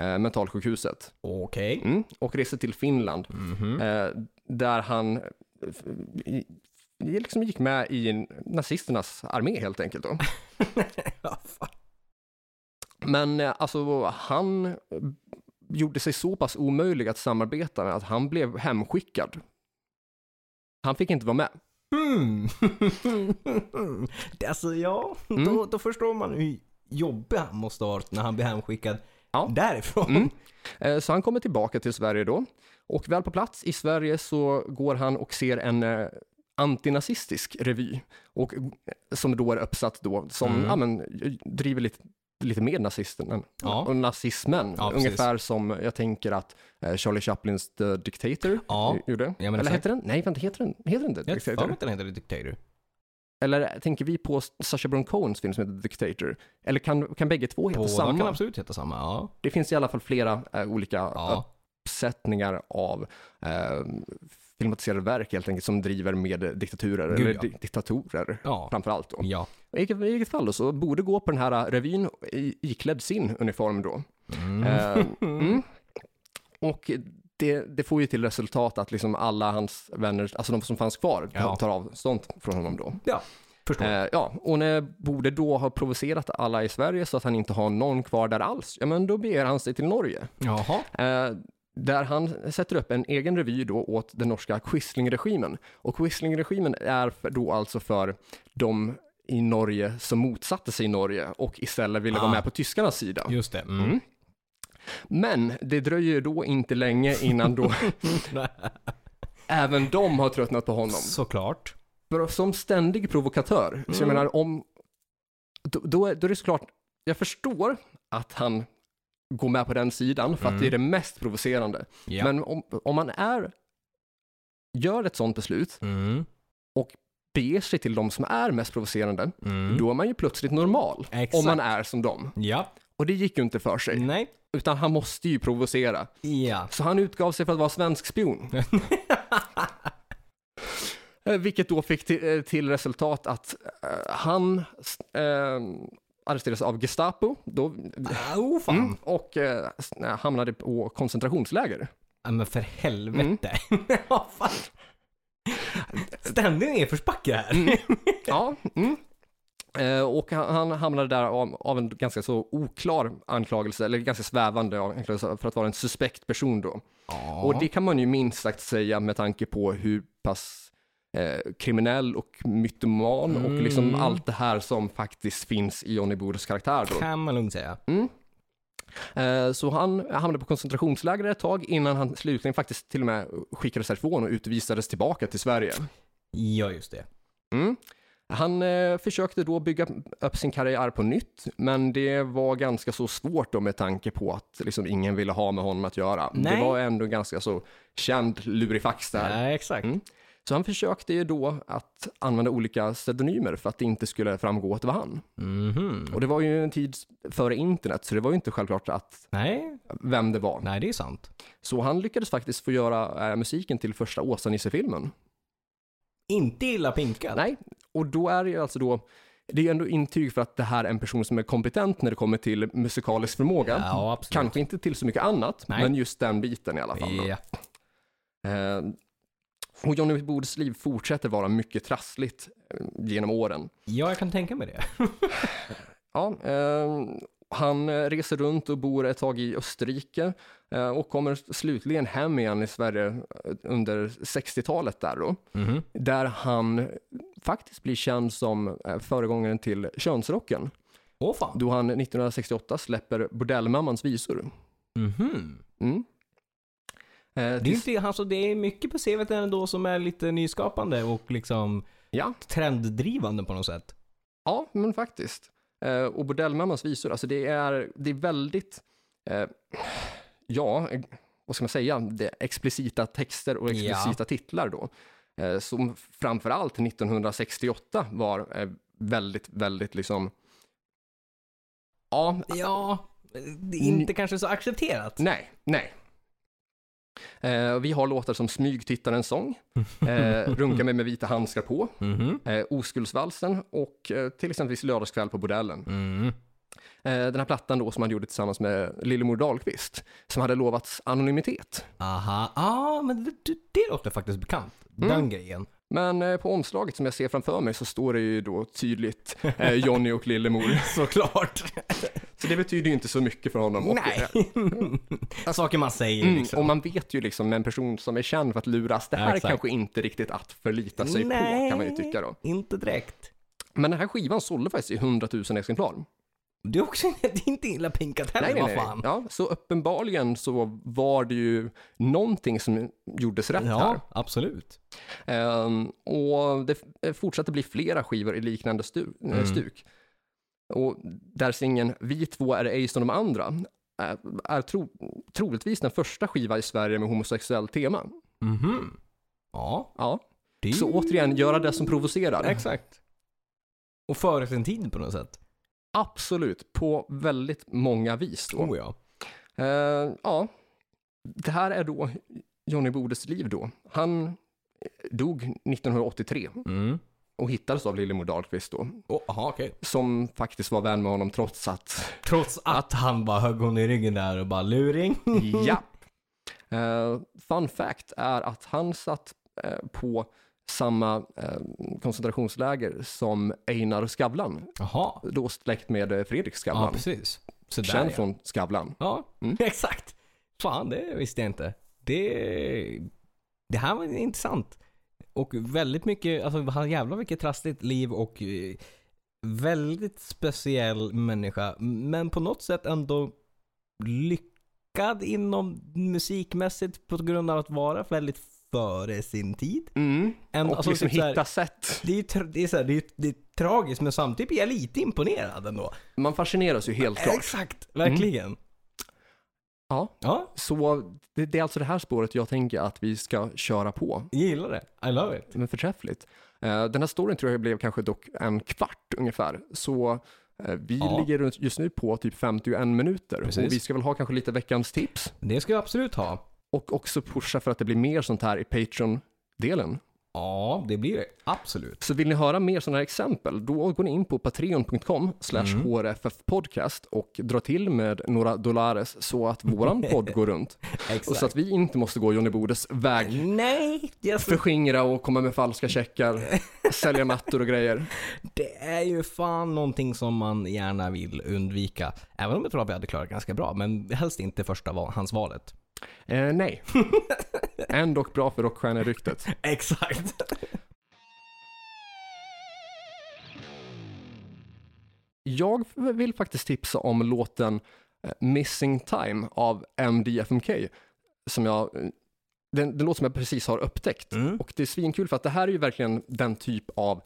[SPEAKER 1] eh, mentalsjukhuset.
[SPEAKER 2] Okej.
[SPEAKER 1] Mm, och reste till Finland
[SPEAKER 2] Mm-hmm.
[SPEAKER 1] eh, där han eh, f- i- i- liksom gick med i nazisternas armé helt enkelt. Då.
[SPEAKER 2] Ja, fan.
[SPEAKER 1] Men eh, alltså han eh, gjorde sig så pass omöjlig att samarbeta med att han blev hemskickad. Han fick inte vara med.
[SPEAKER 2] Mm. [LAUGHS] Det, alltså ja, då,
[SPEAKER 1] Mm.
[SPEAKER 2] då förstår man hur jobbig han måste ha varit när han blir hemskickad
[SPEAKER 1] Ja.
[SPEAKER 2] därifrån.
[SPEAKER 1] Mm. Eh, Så han kommer tillbaka till Sverige då. Och väl på plats i Sverige så går han och ser en eh, antinazistisk revy. Och, eh, som då är uppsatt då, som
[SPEAKER 2] Mm.
[SPEAKER 1] ja, men, j- driver lite, lite med nazisterna
[SPEAKER 2] Ja.
[SPEAKER 1] och nazismen.
[SPEAKER 2] Ja, precis.
[SPEAKER 1] Ungefär som jag tänker att eh, Charlie Chaplins The Dictator
[SPEAKER 2] Ja.
[SPEAKER 1] eh, gjorde.
[SPEAKER 2] Ja, men
[SPEAKER 1] Eller
[SPEAKER 2] exakt.
[SPEAKER 1] heter den? Nej, vänta, heter den, heter den The
[SPEAKER 2] Jag har för
[SPEAKER 1] Dictator?
[SPEAKER 2] mig att den heter Dictator.
[SPEAKER 1] Eller tänker vi på Sacha Baron Cohens film som heter The Dictator? Eller kan, kan bägge två heta
[SPEAKER 2] Båda
[SPEAKER 1] samma?
[SPEAKER 2] kan absolut heta samma. Ja.
[SPEAKER 1] Det finns i alla fall flera eh, olika eh,
[SPEAKER 2] ja.
[SPEAKER 1] uppsättningar av eh, filmatiserade verk helt enkelt som driver med diktaturer,
[SPEAKER 2] Gud,
[SPEAKER 1] eller
[SPEAKER 2] ja. Mm.
[SPEAKER 1] di- diktatorer
[SPEAKER 2] Ja.
[SPEAKER 1] framför allt. Då.
[SPEAKER 2] Ja.
[SPEAKER 1] I vilket, I vilket fall då, så borde gå på den här eh, revyn i- iklädd sin uniform då.
[SPEAKER 2] [LAUGHS]
[SPEAKER 1] Eh, mm. Och det, det får ju till resultat att liksom alla hans vänner, alltså de som fanns kvar,
[SPEAKER 2] Ja.
[SPEAKER 1] tar avstånd från honom då.
[SPEAKER 2] Ja. Förstår.
[SPEAKER 1] Eh, ja, och när Borde då har provocerat alla i Sverige så att han inte har någon kvar där alls, ja men då beger han sig till Norge.
[SPEAKER 2] Jaha.
[SPEAKER 1] Eh, där han sätter upp en egen revy då åt den norska Quisling-regimen. Och Quisling-regimen är för, då alltså för de i Norge som motsatte sig Norge och istället ville
[SPEAKER 2] Ah.
[SPEAKER 1] vara med på tyskarnas sida.
[SPEAKER 2] Just det. Mm.
[SPEAKER 1] Mm. Men det dröjer då inte länge innan
[SPEAKER 2] [LAUGHS]
[SPEAKER 1] då Mm. även de har tröttnat på honom.
[SPEAKER 2] Såklart.
[SPEAKER 1] För som ständig provokatör, så jag
[SPEAKER 2] Mm.
[SPEAKER 1] menar om, då, då, är, då är det såklart, jag förstår att han går med på den sidan för att
[SPEAKER 2] Mm.
[SPEAKER 1] det är det mest provocerande.
[SPEAKER 2] Ja.
[SPEAKER 1] Men om, om man är, gör ett sånt beslut,
[SPEAKER 2] Mm.
[SPEAKER 1] beger sig till de som är mest provocerande,
[SPEAKER 2] Mm.
[SPEAKER 1] då är man ju plötsligt normal.
[SPEAKER 2] Exakt. Mm.
[SPEAKER 1] Om man är som dem.
[SPEAKER 2] Ja.
[SPEAKER 1] Och det gick ju inte för sig.
[SPEAKER 2] Nej.
[SPEAKER 1] Utan han måste ju provocera.
[SPEAKER 2] Ja.
[SPEAKER 1] Så han utgav sig för att vara svensk spion. Eh, Vilket då fick till, eh, till resultat att eh, han eh, arresterades av Gestapo då,
[SPEAKER 2] Ah, oh fan.
[SPEAKER 1] mm, och eh, s- hamnade på koncentrationsläger.
[SPEAKER 2] Ja, men för helvete. [LAUGHS] ja, fan. Ständig nedförsbacke här.
[SPEAKER 1] Ja, mm. Eh, och han, han hamnade där av, av en ganska så oklar anklagelse, eller ganska svävande anklagelse för att vara en suspekt person då.
[SPEAKER 2] Ja.
[SPEAKER 1] Och det kan man ju minst sagt säga med tanke på hur pass eh, kriminell och mytoman och
[SPEAKER 2] Mm.
[SPEAKER 1] liksom allt det här som faktiskt finns i Johnny Bodes karaktär då.
[SPEAKER 2] kan man lugnt säga.
[SPEAKER 1] Eh, så han hamnade på koncentrationsläger ett tag innan han slutligen faktiskt till och med skickades härifrån och utvisades tillbaka till Sverige.
[SPEAKER 2] Ja, just det.
[SPEAKER 1] Mm. Han eh, försökte då bygga upp sin karriär på nytt, men det var ganska så svårt då med tanke på att liksom ingen ville ha med honom att göra.
[SPEAKER 2] Nej.
[SPEAKER 1] Det var ändå ganska så känd lurifax där.
[SPEAKER 2] Ja, exakt.
[SPEAKER 1] Mm. Så han försökte ju då att använda olika pseudonymer för att det inte skulle framgå att det var han.
[SPEAKER 2] Mhm.
[SPEAKER 1] Och det var ju en tid före internet, så det var ju inte självklart att
[SPEAKER 2] Nej,
[SPEAKER 1] vem det var.
[SPEAKER 2] nej, det är sant.
[SPEAKER 1] Så han lyckades faktiskt få göra eh, musiken till första Åsa-Nisse-filmen.
[SPEAKER 2] Inte illa pinkad.
[SPEAKER 1] Nej, och då är det ju alltså då, det är ju ändå intyg för att det här är en person som är kompetent när det kommer till musikalisk förmåga.
[SPEAKER 2] Ja, absolut.
[SPEAKER 1] Kanske inte till så mycket annat,
[SPEAKER 2] Nej.
[SPEAKER 1] men just den biten i alla fall. då.
[SPEAKER 2] Ja.
[SPEAKER 1] Eh, Och Johnny Bodes liv fortsätter vara mycket trassligt eh, genom åren.
[SPEAKER 2] Ja, jag kan tänka mig det. [LAUGHS]
[SPEAKER 1] Ja, eh, han eh, reser runt och bor ett tag i Österrike eh, och kommer slutligen hem igen i Sverige eh, under 60-talet där då.
[SPEAKER 2] Mm-hmm.
[SPEAKER 1] Där han faktiskt blir känd som eh, föregångaren till könsrocken.
[SPEAKER 2] Åh fan.
[SPEAKER 1] Då han 1968 släpper Bordellmammans visor.
[SPEAKER 2] Mhm.
[SPEAKER 1] Mm. Eh,
[SPEAKER 2] Det, är inte, alltså, det är mycket på CVt ändå som är lite nyskapande och liksom
[SPEAKER 1] ja.
[SPEAKER 2] trenddrivande på något sätt.
[SPEAKER 1] Ja, men faktiskt. Eh, och Bordellmammans visor, alltså det är, det är väldigt, eh, ja, eh, vad ska man säga, det är explicita texter och explicita titlar då. Eh, som framförallt 1968 var eh, väldigt, väldigt liksom, ja,
[SPEAKER 2] Ja, det är inte kanske så accepterat.
[SPEAKER 1] nej, nej. Eh, vi har låtar som Smygtittarens sång, eh, Runka mig med vita handskar på,
[SPEAKER 2] Mhm.
[SPEAKER 1] eh, Oskuldsvalsen och eh, till exempel Lördagskväll på bordellen.
[SPEAKER 2] Mm.
[SPEAKER 1] Eh, den här plattan då som han gjorde tillsammans med Lillemor Dahlqvist, som hade lovats anonymitet.
[SPEAKER 2] Aha, ah, men det, det- det låter faktiskt bekant. Den grejen.
[SPEAKER 1] Men eh, på omslaget som jag ser framför mig så står det ju då tydligt eh,
[SPEAKER 2] [LAUGHS]
[SPEAKER 1] Johnny och Lillemor.
[SPEAKER 2] Såklart.
[SPEAKER 1] Så det betyder ju inte så mycket för honom. Och, [LAUGHS]
[SPEAKER 2] [LAUGHS] Nej. Alltså,
[SPEAKER 1] eh,
[SPEAKER 2] Saker man säger
[SPEAKER 1] Mm,
[SPEAKER 2] liksom.
[SPEAKER 1] och man vet ju liksom med en person som är känd för att luras, det
[SPEAKER 2] Ja,
[SPEAKER 1] här är
[SPEAKER 2] exakt.
[SPEAKER 1] kanske inte riktigt att förlita sig på kan man ju tycka då.
[SPEAKER 2] inte direkt.
[SPEAKER 1] Men den här skivan sålde faktiskt i 100 000 exemplar.
[SPEAKER 2] Det är också [LAUGHS] det är inte illa pinkat
[SPEAKER 1] Nej,
[SPEAKER 2] heller,
[SPEAKER 1] nej,
[SPEAKER 2] vad
[SPEAKER 1] nej.
[SPEAKER 2] fan.
[SPEAKER 1] Ja, så uppenbarligen så var det ju någonting som gjordes rätt här.
[SPEAKER 2] absolut.
[SPEAKER 1] Ehm, och det f- eh, fortsatte bli flera skivor i liknande stu- eh, stuk. Och där singeln Vi två är ej som de andra är, är tro, troligtvis den första skiva i Sverige med homosexuellt tema.
[SPEAKER 2] Mhm. Ja,
[SPEAKER 1] Ja.
[SPEAKER 2] det är
[SPEAKER 1] Så återigen, göra det som provocerar.
[SPEAKER 2] Exakt. Och före sin tid på något sätt.
[SPEAKER 1] Absolut, på väldigt många vis då.
[SPEAKER 2] Oh ja.
[SPEAKER 1] Ehm, ja, det här är då Johnny Bodes liv då. Han eh, dog 1983
[SPEAKER 2] Mm.
[SPEAKER 1] och hittades av Lillemor Dahlqvist då,
[SPEAKER 2] Oh, aha, okej.
[SPEAKER 1] som faktiskt var vän med honom trots att
[SPEAKER 2] Trots att han bara högg hon i ryggen där och bara luring.
[SPEAKER 1] Ja. [LAUGHS] Eh, fun fact är att han satt eh, på samma eh, koncentrationsläger som Einar Skavlan,
[SPEAKER 2] Jaha.
[SPEAKER 1] då släkt med eh, Fredrik
[SPEAKER 2] Ja,
[SPEAKER 1] Skavlan,
[SPEAKER 2] precis. Så där
[SPEAKER 1] känd
[SPEAKER 2] ja.
[SPEAKER 1] från Skavlan.
[SPEAKER 2] Ja,
[SPEAKER 1] Mm.
[SPEAKER 2] [LAUGHS] exakt. Fan, det visste jag inte. Det, det här var intressant. Och väldigt mycket, alltså han jävlar vilket trassligt liv och eh, väldigt speciell människa. Men på något sätt ändå lyckad inom musikmässigt på grund av att vara väldigt före sin tid.
[SPEAKER 1] Mm.
[SPEAKER 2] Ändå,
[SPEAKER 1] Och
[SPEAKER 2] alltså,
[SPEAKER 1] liksom
[SPEAKER 2] typ så här-
[SPEAKER 1] hitta sätt.
[SPEAKER 2] Det är, ju tra- det, är så här, det, är, ju- det är tragiskt men samtidigt är jag lite imponerad ändå.
[SPEAKER 1] Man fascineras ju
[SPEAKER 2] Eh,
[SPEAKER 1] helt klart. Mm.
[SPEAKER 2] Exakt, verkligen.
[SPEAKER 1] Ja.
[SPEAKER 2] Ja,
[SPEAKER 1] Så det, det är alltså det här spåret jag tänker att vi ska köra på.
[SPEAKER 2] jag gillar det. I love it.
[SPEAKER 1] Men förträffligt. Eh, den här storyn tror jag blev kanske dock en kvart ungefär. Så eh, vi
[SPEAKER 2] Ja.
[SPEAKER 1] ligger runt- just nu på typ 51 minuter.
[SPEAKER 2] Precis.
[SPEAKER 1] Och vi ska väl ha kanske lite veckans tips.
[SPEAKER 2] Det ska jag absolut ha.
[SPEAKER 1] och också pusha för att det blir mer sånt här i Patreon-delen.
[SPEAKER 2] Ja, det blir det. Absolut.
[SPEAKER 1] Så vill ni höra mer sådana här exempel, då går ni in på patreon.com
[SPEAKER 2] Mm.
[SPEAKER 1] slash hrffpodcast och drar till med några dollares så att
[SPEAKER 2] [LAUGHS]
[SPEAKER 1] våran podd går runt. Och
[SPEAKER 2] Exakt.
[SPEAKER 1] så att vi inte måste gå Johnny Bodes väg.
[SPEAKER 2] Nej, alltså,
[SPEAKER 1] Förskingra och komma med falska checkar, sälja mattor och grejer.
[SPEAKER 2] det är ju fan någonting som man gärna vill undvika. Även om jag tror att vi hade klarat ganska bra, men helst inte första val- hans valet.
[SPEAKER 1] Eh, nej. [LAUGHS] Ändå bra för rockstjärneryktet.
[SPEAKER 2] Exakt.
[SPEAKER 1] Jag vill faktiskt tipsa om låten eh, Missing Time av MDFMK. Som jag, eh, den, den låt som jag precis har upptäckt.
[SPEAKER 2] Mm.
[SPEAKER 1] Och det är svinkul för att det här är ju verkligen den typ av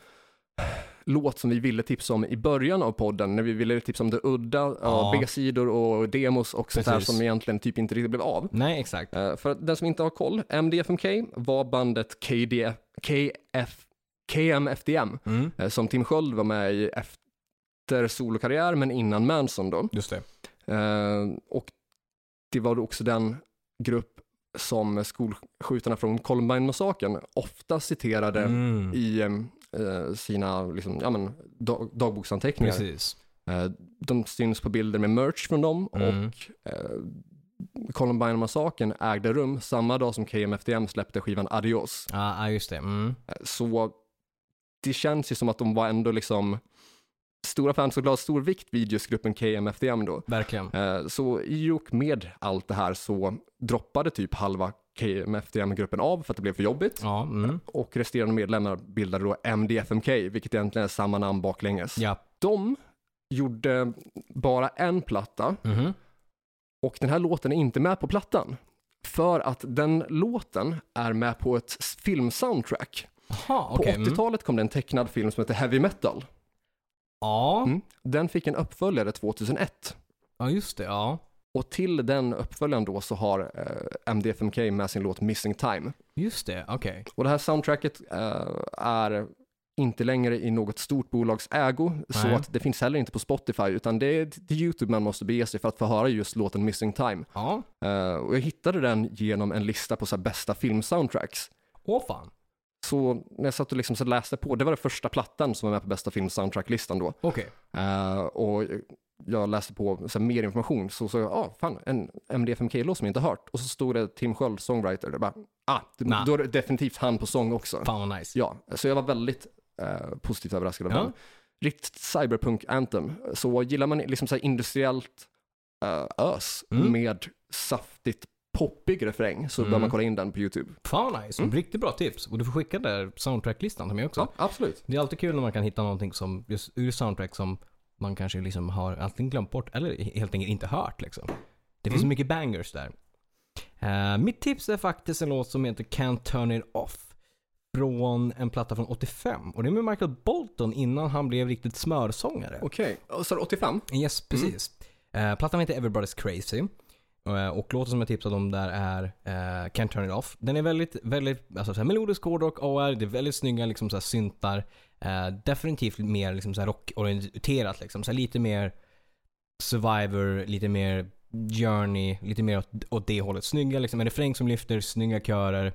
[SPEAKER 1] låt som vi ville tipsa om i början av podden. När vi ville tipsa om det udda, ja.
[SPEAKER 2] Ja.
[SPEAKER 1] B-sidor och demos och sånt där
[SPEAKER 2] Precis.
[SPEAKER 1] som egentligen typ inte riktigt blev av.
[SPEAKER 2] Nej, exakt.
[SPEAKER 1] Eh, för att den som inte har koll, MDFMK var bandet KDF, KF, KMFDM
[SPEAKER 2] Mm.
[SPEAKER 1] eh, som Tim Sköld var med i efter solokarriär, men innan Manson då.
[SPEAKER 2] Just det.
[SPEAKER 1] Eh, och det var då också den grupp som skolskjutarna från Columbine-massakern ofta citerade
[SPEAKER 2] Mm.
[SPEAKER 1] i eh, sina liksom, ja, men, dag- dagboksanteckningar.
[SPEAKER 2] Precis.
[SPEAKER 1] Eh, de syns på bilder med merch från dem
[SPEAKER 2] Mm.
[SPEAKER 1] och eh, Columbine-massakern ägde rum samma dag som KMFDM släppte skivan Adios. Eh,
[SPEAKER 2] Ja, ah, just det. Mm.
[SPEAKER 1] Så det känns ju som att de var ändå liksom stora fans och la stor vikt vid just gruppen KMFDM då.
[SPEAKER 2] Verkligen.
[SPEAKER 1] Eh, Så i och med allt det här så droppade typ halva KMFDM-gruppen av för att det blev för jobbigt
[SPEAKER 2] Ja, mm.
[SPEAKER 1] och resterande medlemmar bildade då MDFMK, vilket egentligen är samma namn baklänges.
[SPEAKER 2] Ja.
[SPEAKER 1] De gjorde bara en platta
[SPEAKER 2] Mhm.
[SPEAKER 1] och den här låten är inte med på plattan. För att den låten är med på ett filmsoundtrack.
[SPEAKER 2] Jaha,
[SPEAKER 1] På
[SPEAKER 2] okej. Mm.
[SPEAKER 1] 80-talet kom det en tecknad film som heter Heavy Metal.
[SPEAKER 2] Ja.
[SPEAKER 1] Mm. Den fick en uppföljare 2001.
[SPEAKER 2] ja, just det. Ja.
[SPEAKER 1] Och till den uppföljaren då så har eh, MDFMK med sin låt Missing Time.
[SPEAKER 2] Just det, okej.
[SPEAKER 1] Och det här soundtracket eh, är inte längre i något stort bolags ägo, så
[SPEAKER 2] Nej.
[SPEAKER 1] att det finns heller inte på Spotify, utan det är till YouTube man måste bege sig för att få höra just låten Missing Time.
[SPEAKER 2] Ja.
[SPEAKER 1] Eh, och jag hittade den genom en lista på så här, bästa filmsoundtracks.
[SPEAKER 2] Åh fan.
[SPEAKER 1] Så när jag satt och liksom så läste på, det var den första plattan som var med på bästa filmsoundtrack-listan då.
[SPEAKER 2] Okej.
[SPEAKER 1] Eh, och jag läste på så här, mer information, så såg jag, ah, fan, en MDFMK-låt som jag inte hört. Och så stod det Tim Sköld, songwriter, det bara, ah,
[SPEAKER 2] Nah.
[SPEAKER 1] då är det definitivt han på sång också.
[SPEAKER 2] Fan vad nice.
[SPEAKER 1] Ja, så jag var väldigt eh, positivt överraskad av
[SPEAKER 2] Ja.
[SPEAKER 1] den. Riktigt cyberpunk-anthem. Så gillar man liksom så här industriellt eh, ös
[SPEAKER 2] Mm.
[SPEAKER 1] med saftigt poppig refräng så bör
[SPEAKER 2] Mm.
[SPEAKER 1] man kolla in den på YouTube.
[SPEAKER 2] Fan vad nice.
[SPEAKER 1] Mm.
[SPEAKER 2] Riktigt bra tips. Och du får skicka den där soundtracklistan till mig också.
[SPEAKER 1] Ja, absolut.
[SPEAKER 2] Det är alltid kul när man kan hitta någonting som, just ur soundtrack som man kanske liksom har antingen glömt bort eller helt enkelt inte hört liksom. Det finns
[SPEAKER 1] Mm.
[SPEAKER 2] mycket bangers där. Eh, mitt tips är faktiskt en låt som heter Can't Turn It Off. Från en platta från 85. Och det är med Michael Bolton innan han blev riktigt smörsångare.
[SPEAKER 1] Okej, så 85?
[SPEAKER 2] Yes, precis. Eh, plattan heter Everybody's Crazy. Eh, och låten som jag tipsade om där är eh, Can't Turn It Off. Den är väldigt, väldigt alltså, så här, melodisk hårdrock, AR, det är väldigt snygga liksom, så här, syntar. Eh, definitivt mer liksom, så här, rockorienterat, liksom. så här, lite mer Survivor, lite mer Journey, lite mer åt, åt det hållet. Snygga liksom, en refräng som lyfter, snygga körer.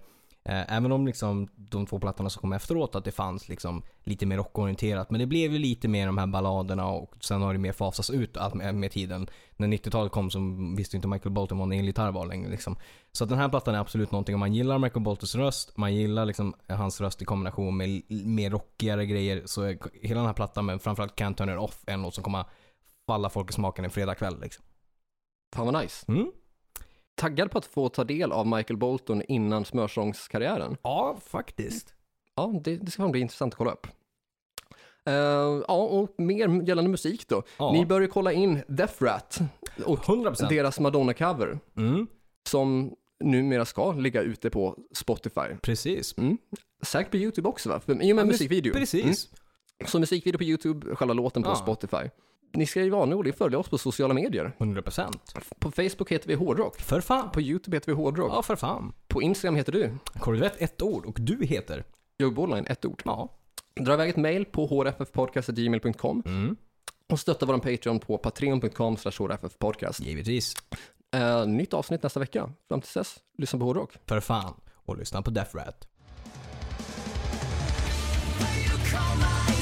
[SPEAKER 2] Eh, även om liksom, de två plattorna som kom efteråt att det fanns liksom, lite mer rockorienterat. Men det blev ju lite mer de här balladerna och sen har det mer fasats ut allt med, med tiden. När 90-talet kom så visste ju inte Michael Bolton vad en elgitarr var längre. Liksom. Så att den här plattan är absolut någonting om man gillar Michael Boltons röst, man gillar liksom, hans röst i kombination med l- mer rockigare grejer. Så är k- hela den här plattan, men framförallt Can't Turn It Off, är en låt som kommer falla folk i smaken en fredagkväll. Liksom.
[SPEAKER 1] Fan vad nice.
[SPEAKER 2] Mm.
[SPEAKER 1] Taggad på att få ta del av Michael Bolton innan smörsångskarriären?
[SPEAKER 2] Ja, faktiskt.
[SPEAKER 1] Ja, det, det ska fan bli intressant att kolla upp. Eh, ja, och mer gällande musik då.
[SPEAKER 2] Ja.
[SPEAKER 1] Ni bör ju kolla in Death Rat och
[SPEAKER 2] 100%.
[SPEAKER 1] deras Madonna-cover.
[SPEAKER 2] Mm.
[SPEAKER 1] som numera ska ligga ute på Spotify.
[SPEAKER 2] Precis.
[SPEAKER 1] Mm. Säkert på YouTube också va? För, I och med musikvideo. Mm.
[SPEAKER 2] Precis.
[SPEAKER 1] Så musikvideo på YouTube, själva låten på
[SPEAKER 2] Ja.
[SPEAKER 1] Spotify. Ni ska ju vanordning följa oss på sociala medier.
[SPEAKER 2] 100%.
[SPEAKER 1] På Facebook heter vi Hårdrock.
[SPEAKER 2] För fan.
[SPEAKER 1] På YouTube heter vi Hårdrock.
[SPEAKER 2] Ja, för fan.
[SPEAKER 1] På Instagram heter du
[SPEAKER 2] Korvett ett ord och du heter?
[SPEAKER 1] Joe Borderline, ett ord.
[SPEAKER 2] Ja.
[SPEAKER 1] Dra iväg ett mail på hrffpodcast.gmail.com
[SPEAKER 2] Mm.
[SPEAKER 1] och stötta vår Patreon på patreon.com hrffpodcast.
[SPEAKER 2] Givetvis.
[SPEAKER 1] Eh, nytt avsnitt nästa vecka. Fram tills dess, lyssna på Hårdrock.
[SPEAKER 2] För fan. Och lyssna på Death Rat.
[SPEAKER 3] When you call my